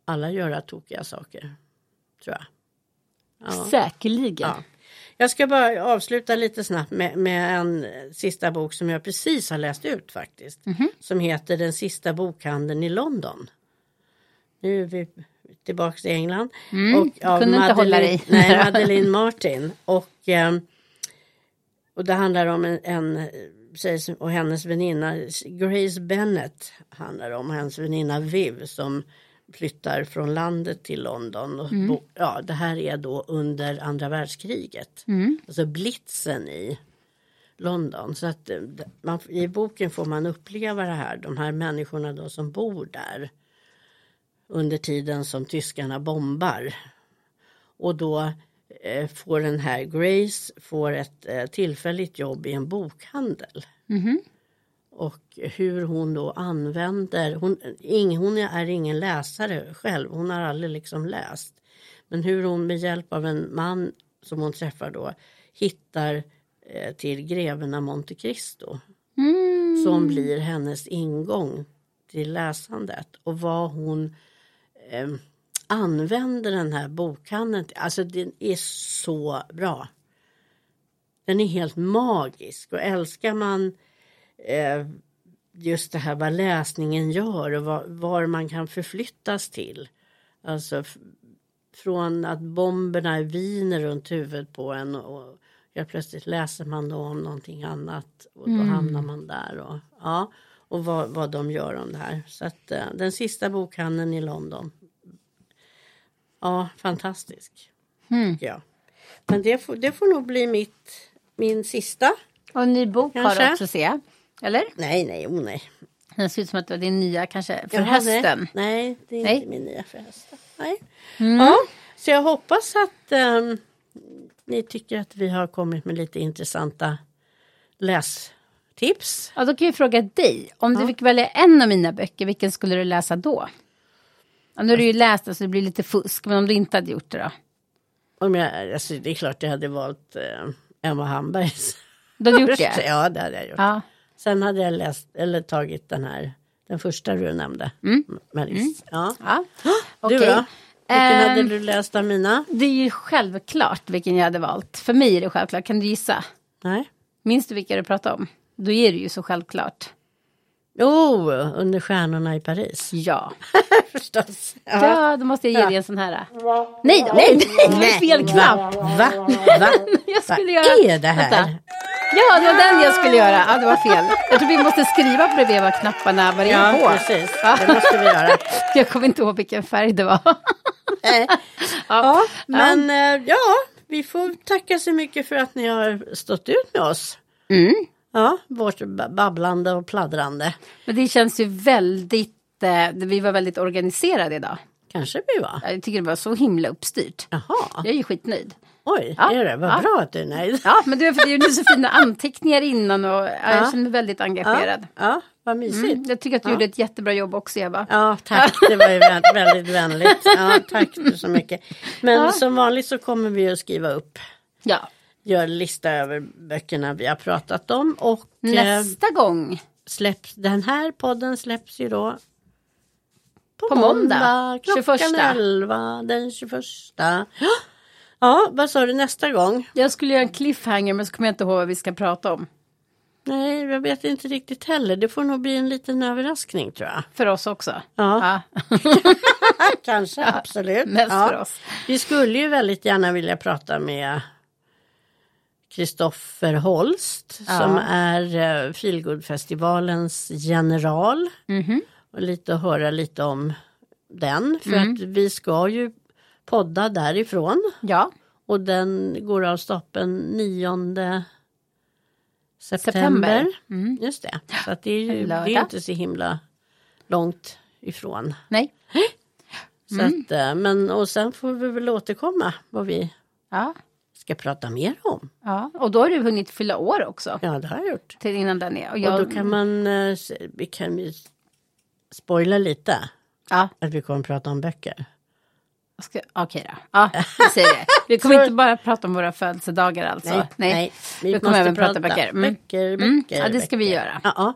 [SPEAKER 2] alla göra tokiga saker. Tror jag.
[SPEAKER 1] Säkerligen.
[SPEAKER 2] Ja. Jag ska bara avsluta lite snabbt med, med en sista bok som jag precis har läst ut faktiskt.
[SPEAKER 1] Mhm.
[SPEAKER 2] Som heter Den sista bokhandeln i London. Nu är vi tillbaka till England. och
[SPEAKER 1] Mm,
[SPEAKER 2] av
[SPEAKER 1] kunde inte hålla dig.
[SPEAKER 2] Nej,
[SPEAKER 1] [laughs]
[SPEAKER 2] Madeleine Martin. Och, eh, och det handlar om en, en tjej som- och hennes väninna Grace Bennett. Handlar om och hennes väninna Viv som flyttar från landet till London. Och bo, ja, det här är då under andra världskriget. Alltså blitzen i London. Så att eh, d- man, i boken får man uppleva det här, de här människorna då som bor där under tiden som tyskarna bombar. Och då eh, får den här Grace får ett eh, tillfälligt jobb i en bokhandel. Och hur hon då använder, hon, ing, hon är ingen läsare själv, hon har aldrig liksom läst. Men hur hon med hjälp av en man som hon träffar då hittar eh, till greven av Monte Cristo. Som blir hennes ingång till läsandet och vad hon eh, använder den här bokhandeln till. Alltså den är så bra. Den är helt magisk och älskar man eh, just det här vad läsningen gör och var, var man kan förflyttas till. Alltså f- från att bomberna viner runt huvudet på en och jag plötsligt läser man då om någonting annat och då hamnar man där. Och, ja, och vad, vad de gör om det här. Så att, eh, den sista bokhandeln i London. Ja, fantastisk.
[SPEAKER 1] Hmm.
[SPEAKER 2] tycker jag. Men det får, det får nog bli mitt, min sista.
[SPEAKER 1] Och en ny bok har
[SPEAKER 2] Kanske.
[SPEAKER 1] du också se. Eller?
[SPEAKER 2] Nej, nej, oh nej.
[SPEAKER 1] Den ser ut som att det var din nya kanske för
[SPEAKER 2] Jaha,
[SPEAKER 1] hösten.
[SPEAKER 2] Nej, nej det är
[SPEAKER 1] Nej.
[SPEAKER 2] inte min nya för hösten. Nej.
[SPEAKER 1] Mm.
[SPEAKER 2] Ja, så jag hoppas att ehm, ni tycker att vi har kommit med lite intressanta lästips.
[SPEAKER 1] Ja, då kan jag fråga dig. Om du fick välja en av mina böcker, vilken skulle du läsa då? Ja, nu har du ju läst den så det blir lite fusk, men om du inte hade gjort det då?
[SPEAKER 2] Om jag, alltså, det är klart jag hade valt eh,
[SPEAKER 1] [laughs]
[SPEAKER 2] Emma Hambergs.
[SPEAKER 1] Du hade gjort det?
[SPEAKER 2] [laughs] Ja, det hade jag gjort.
[SPEAKER 1] Ja.
[SPEAKER 2] Sen hade jag läst, eller tagit den här, den första du nämnde. Mm. Maris. Ja.
[SPEAKER 1] ja.
[SPEAKER 2] Du
[SPEAKER 1] Okej.
[SPEAKER 2] då? Vilken hade
[SPEAKER 1] Ehm,
[SPEAKER 2] du läst av mina?
[SPEAKER 1] Det är ju självklart vilken jag hade valt. För mig är det självklart. Kan du gissa?
[SPEAKER 2] Nej.
[SPEAKER 1] Minns du vilka du pratade om? Då är det ju så självklart.
[SPEAKER 2] Jo, Oh, Under stjärnorna i Paris.
[SPEAKER 1] Ja.
[SPEAKER 2] [laughs] Förstås.
[SPEAKER 1] Ja, då måste jag ge dig en sån här. äh. Nej då! Nej, nej, det var fel knapp!
[SPEAKER 2] Va? [laughs] Va?
[SPEAKER 1] Jag
[SPEAKER 2] Vad
[SPEAKER 1] skulle göra...
[SPEAKER 2] är det här?
[SPEAKER 1] Vänta. Ja, det var den jag skulle göra. Ja, det var fel. Jag tror vi måste skriva bredvid vad knapparna var inne
[SPEAKER 2] Ja,
[SPEAKER 1] på.
[SPEAKER 2] precis.
[SPEAKER 1] Ja.
[SPEAKER 2] Det måste vi [laughs] göra.
[SPEAKER 1] Jag kommer inte ihåg vilken färg det var. [laughs]
[SPEAKER 2] Nej. Eh. Ja, men eh, ja, vi får tacka så mycket för att ni har stått ut med oss. Ja, vårt ba- babblande och pladdrande.
[SPEAKER 1] Men det känns ju väldigt... Eh, vi var väldigt organiserade idag.
[SPEAKER 2] Kanske vi var.
[SPEAKER 1] Jag tycker det var så himla uppstyrt.
[SPEAKER 2] Jaha,
[SPEAKER 1] Jag är ju skitnöjd.
[SPEAKER 2] oj,
[SPEAKER 1] Ja.
[SPEAKER 2] är det? Vad
[SPEAKER 1] Ja.
[SPEAKER 2] bra att du är nöjd.
[SPEAKER 1] Ja, men du, för det gjorde så fina anteckningar innan och ja, jag känner mig väldigt engagerad.
[SPEAKER 2] Ja, vad mysigt.
[SPEAKER 1] Mm, jag tycker att du gjorde ett jättebra jobb också, Eva.
[SPEAKER 2] Ja, tack. Det var ju vä- väldigt vänligt. Ja, tack så mycket. Men som vanligt så kommer vi att skriva upp,
[SPEAKER 1] Ja.
[SPEAKER 2] göra lista över böckerna vi har pratat om. Och eh,
[SPEAKER 1] Nästa gång.
[SPEAKER 2] släpps, den här podden släpps ju då
[SPEAKER 1] På måndag,
[SPEAKER 2] klockan
[SPEAKER 1] 21.
[SPEAKER 2] 11 den 21. Ja. Ja, vad sa du nästa gång?
[SPEAKER 1] Jag skulle göra en cliffhanger men så kommer jag inte ihåg vad vi ska prata om.
[SPEAKER 2] Nej, jag vet inte riktigt heller. Det får nog bli en liten överraskning tror jag.
[SPEAKER 1] För oss också.
[SPEAKER 2] Ja.
[SPEAKER 1] Ja.
[SPEAKER 2] [laughs] Kanske, absolut.
[SPEAKER 1] mest
[SPEAKER 2] ja.
[SPEAKER 1] för oss.
[SPEAKER 2] Vi skulle ju väldigt gärna vilja prata med Kristoffer Holst som är eh, Feelgood-festivalens general.
[SPEAKER 1] Mhm.
[SPEAKER 2] Och lite höra lite om den. För
[SPEAKER 1] Mm.
[SPEAKER 2] att vi ska ju podda därifrån.
[SPEAKER 1] ja.
[SPEAKER 2] Och den går av stapeln 9 september.
[SPEAKER 1] September.
[SPEAKER 2] Just det. Så att det är ju
[SPEAKER 1] En
[SPEAKER 2] det är ju
[SPEAKER 1] lördag.
[SPEAKER 2] inte så himla långt ifrån.
[SPEAKER 1] Nej.
[SPEAKER 2] Så
[SPEAKER 1] Mm.
[SPEAKER 2] att, eh, men, och sen får vi väl återkomma vad vi
[SPEAKER 1] Ja.
[SPEAKER 2] ska prata mer om.
[SPEAKER 1] ja. Och då har du hunnit fylla år också.
[SPEAKER 2] Ja, det har jag gjort.
[SPEAKER 1] Till innan den är. Och
[SPEAKER 2] Och
[SPEAKER 1] jag,
[SPEAKER 2] då kan man, eh, se- vi kan ju spoila lite
[SPEAKER 1] Ja.
[SPEAKER 2] att vi kommer prata om böcker.
[SPEAKER 1] jag ska- Okej då. Ja, vi säger det. Vi kommer inte bara prata om våra födelsedagar alltså. Vi kommer
[SPEAKER 2] måste
[SPEAKER 1] även prata böcker. Mm.
[SPEAKER 2] Böcker, böcker,
[SPEAKER 1] Mm. Ja, det ska vi
[SPEAKER 2] böcker.
[SPEAKER 1] göra.
[SPEAKER 2] Ja, ja.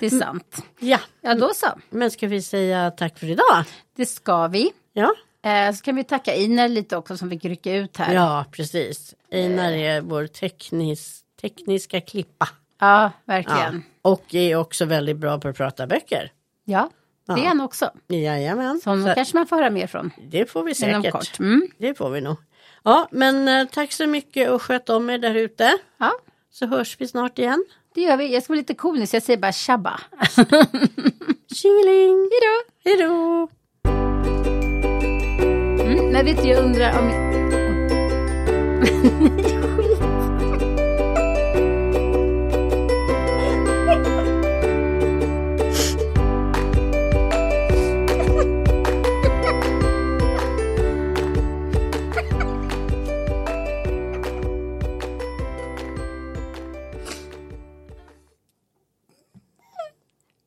[SPEAKER 1] Det är
[SPEAKER 2] Mm.
[SPEAKER 1] sant.
[SPEAKER 2] ja,
[SPEAKER 1] Ja, då så.
[SPEAKER 2] men ska vi säga tack för idag?
[SPEAKER 1] Det ska vi.
[SPEAKER 2] Ja,
[SPEAKER 1] Eh, så kan vi tacka Iner lite också som fick rycka ut här.
[SPEAKER 2] Ja, precis.
[SPEAKER 1] Eh.
[SPEAKER 2] Einar är vår teknis, tekniska klippa.
[SPEAKER 1] Ja,
[SPEAKER 2] Ja.
[SPEAKER 1] verkligen.
[SPEAKER 2] Och är också väldigt bra på att prata böcker.
[SPEAKER 1] Ja, det är han också.
[SPEAKER 2] Jajamän.
[SPEAKER 1] Så honom
[SPEAKER 2] Så
[SPEAKER 1] kanske man får höra mer från
[SPEAKER 2] det får vi
[SPEAKER 1] inom
[SPEAKER 2] säkert.
[SPEAKER 1] kort. Mm.
[SPEAKER 2] Det får vi nog. Ja, men eh, tack så mycket och sköt om er där ute.
[SPEAKER 1] Ja,
[SPEAKER 2] Så hörs vi snart igen.
[SPEAKER 1] det gör vi. Jag ska vara lite cool nu så jag säger bara tjabba.
[SPEAKER 2] Tjingeling!
[SPEAKER 1] Hejdå!
[SPEAKER 2] Hej då!
[SPEAKER 1] Mm, men vet du, jag undrar om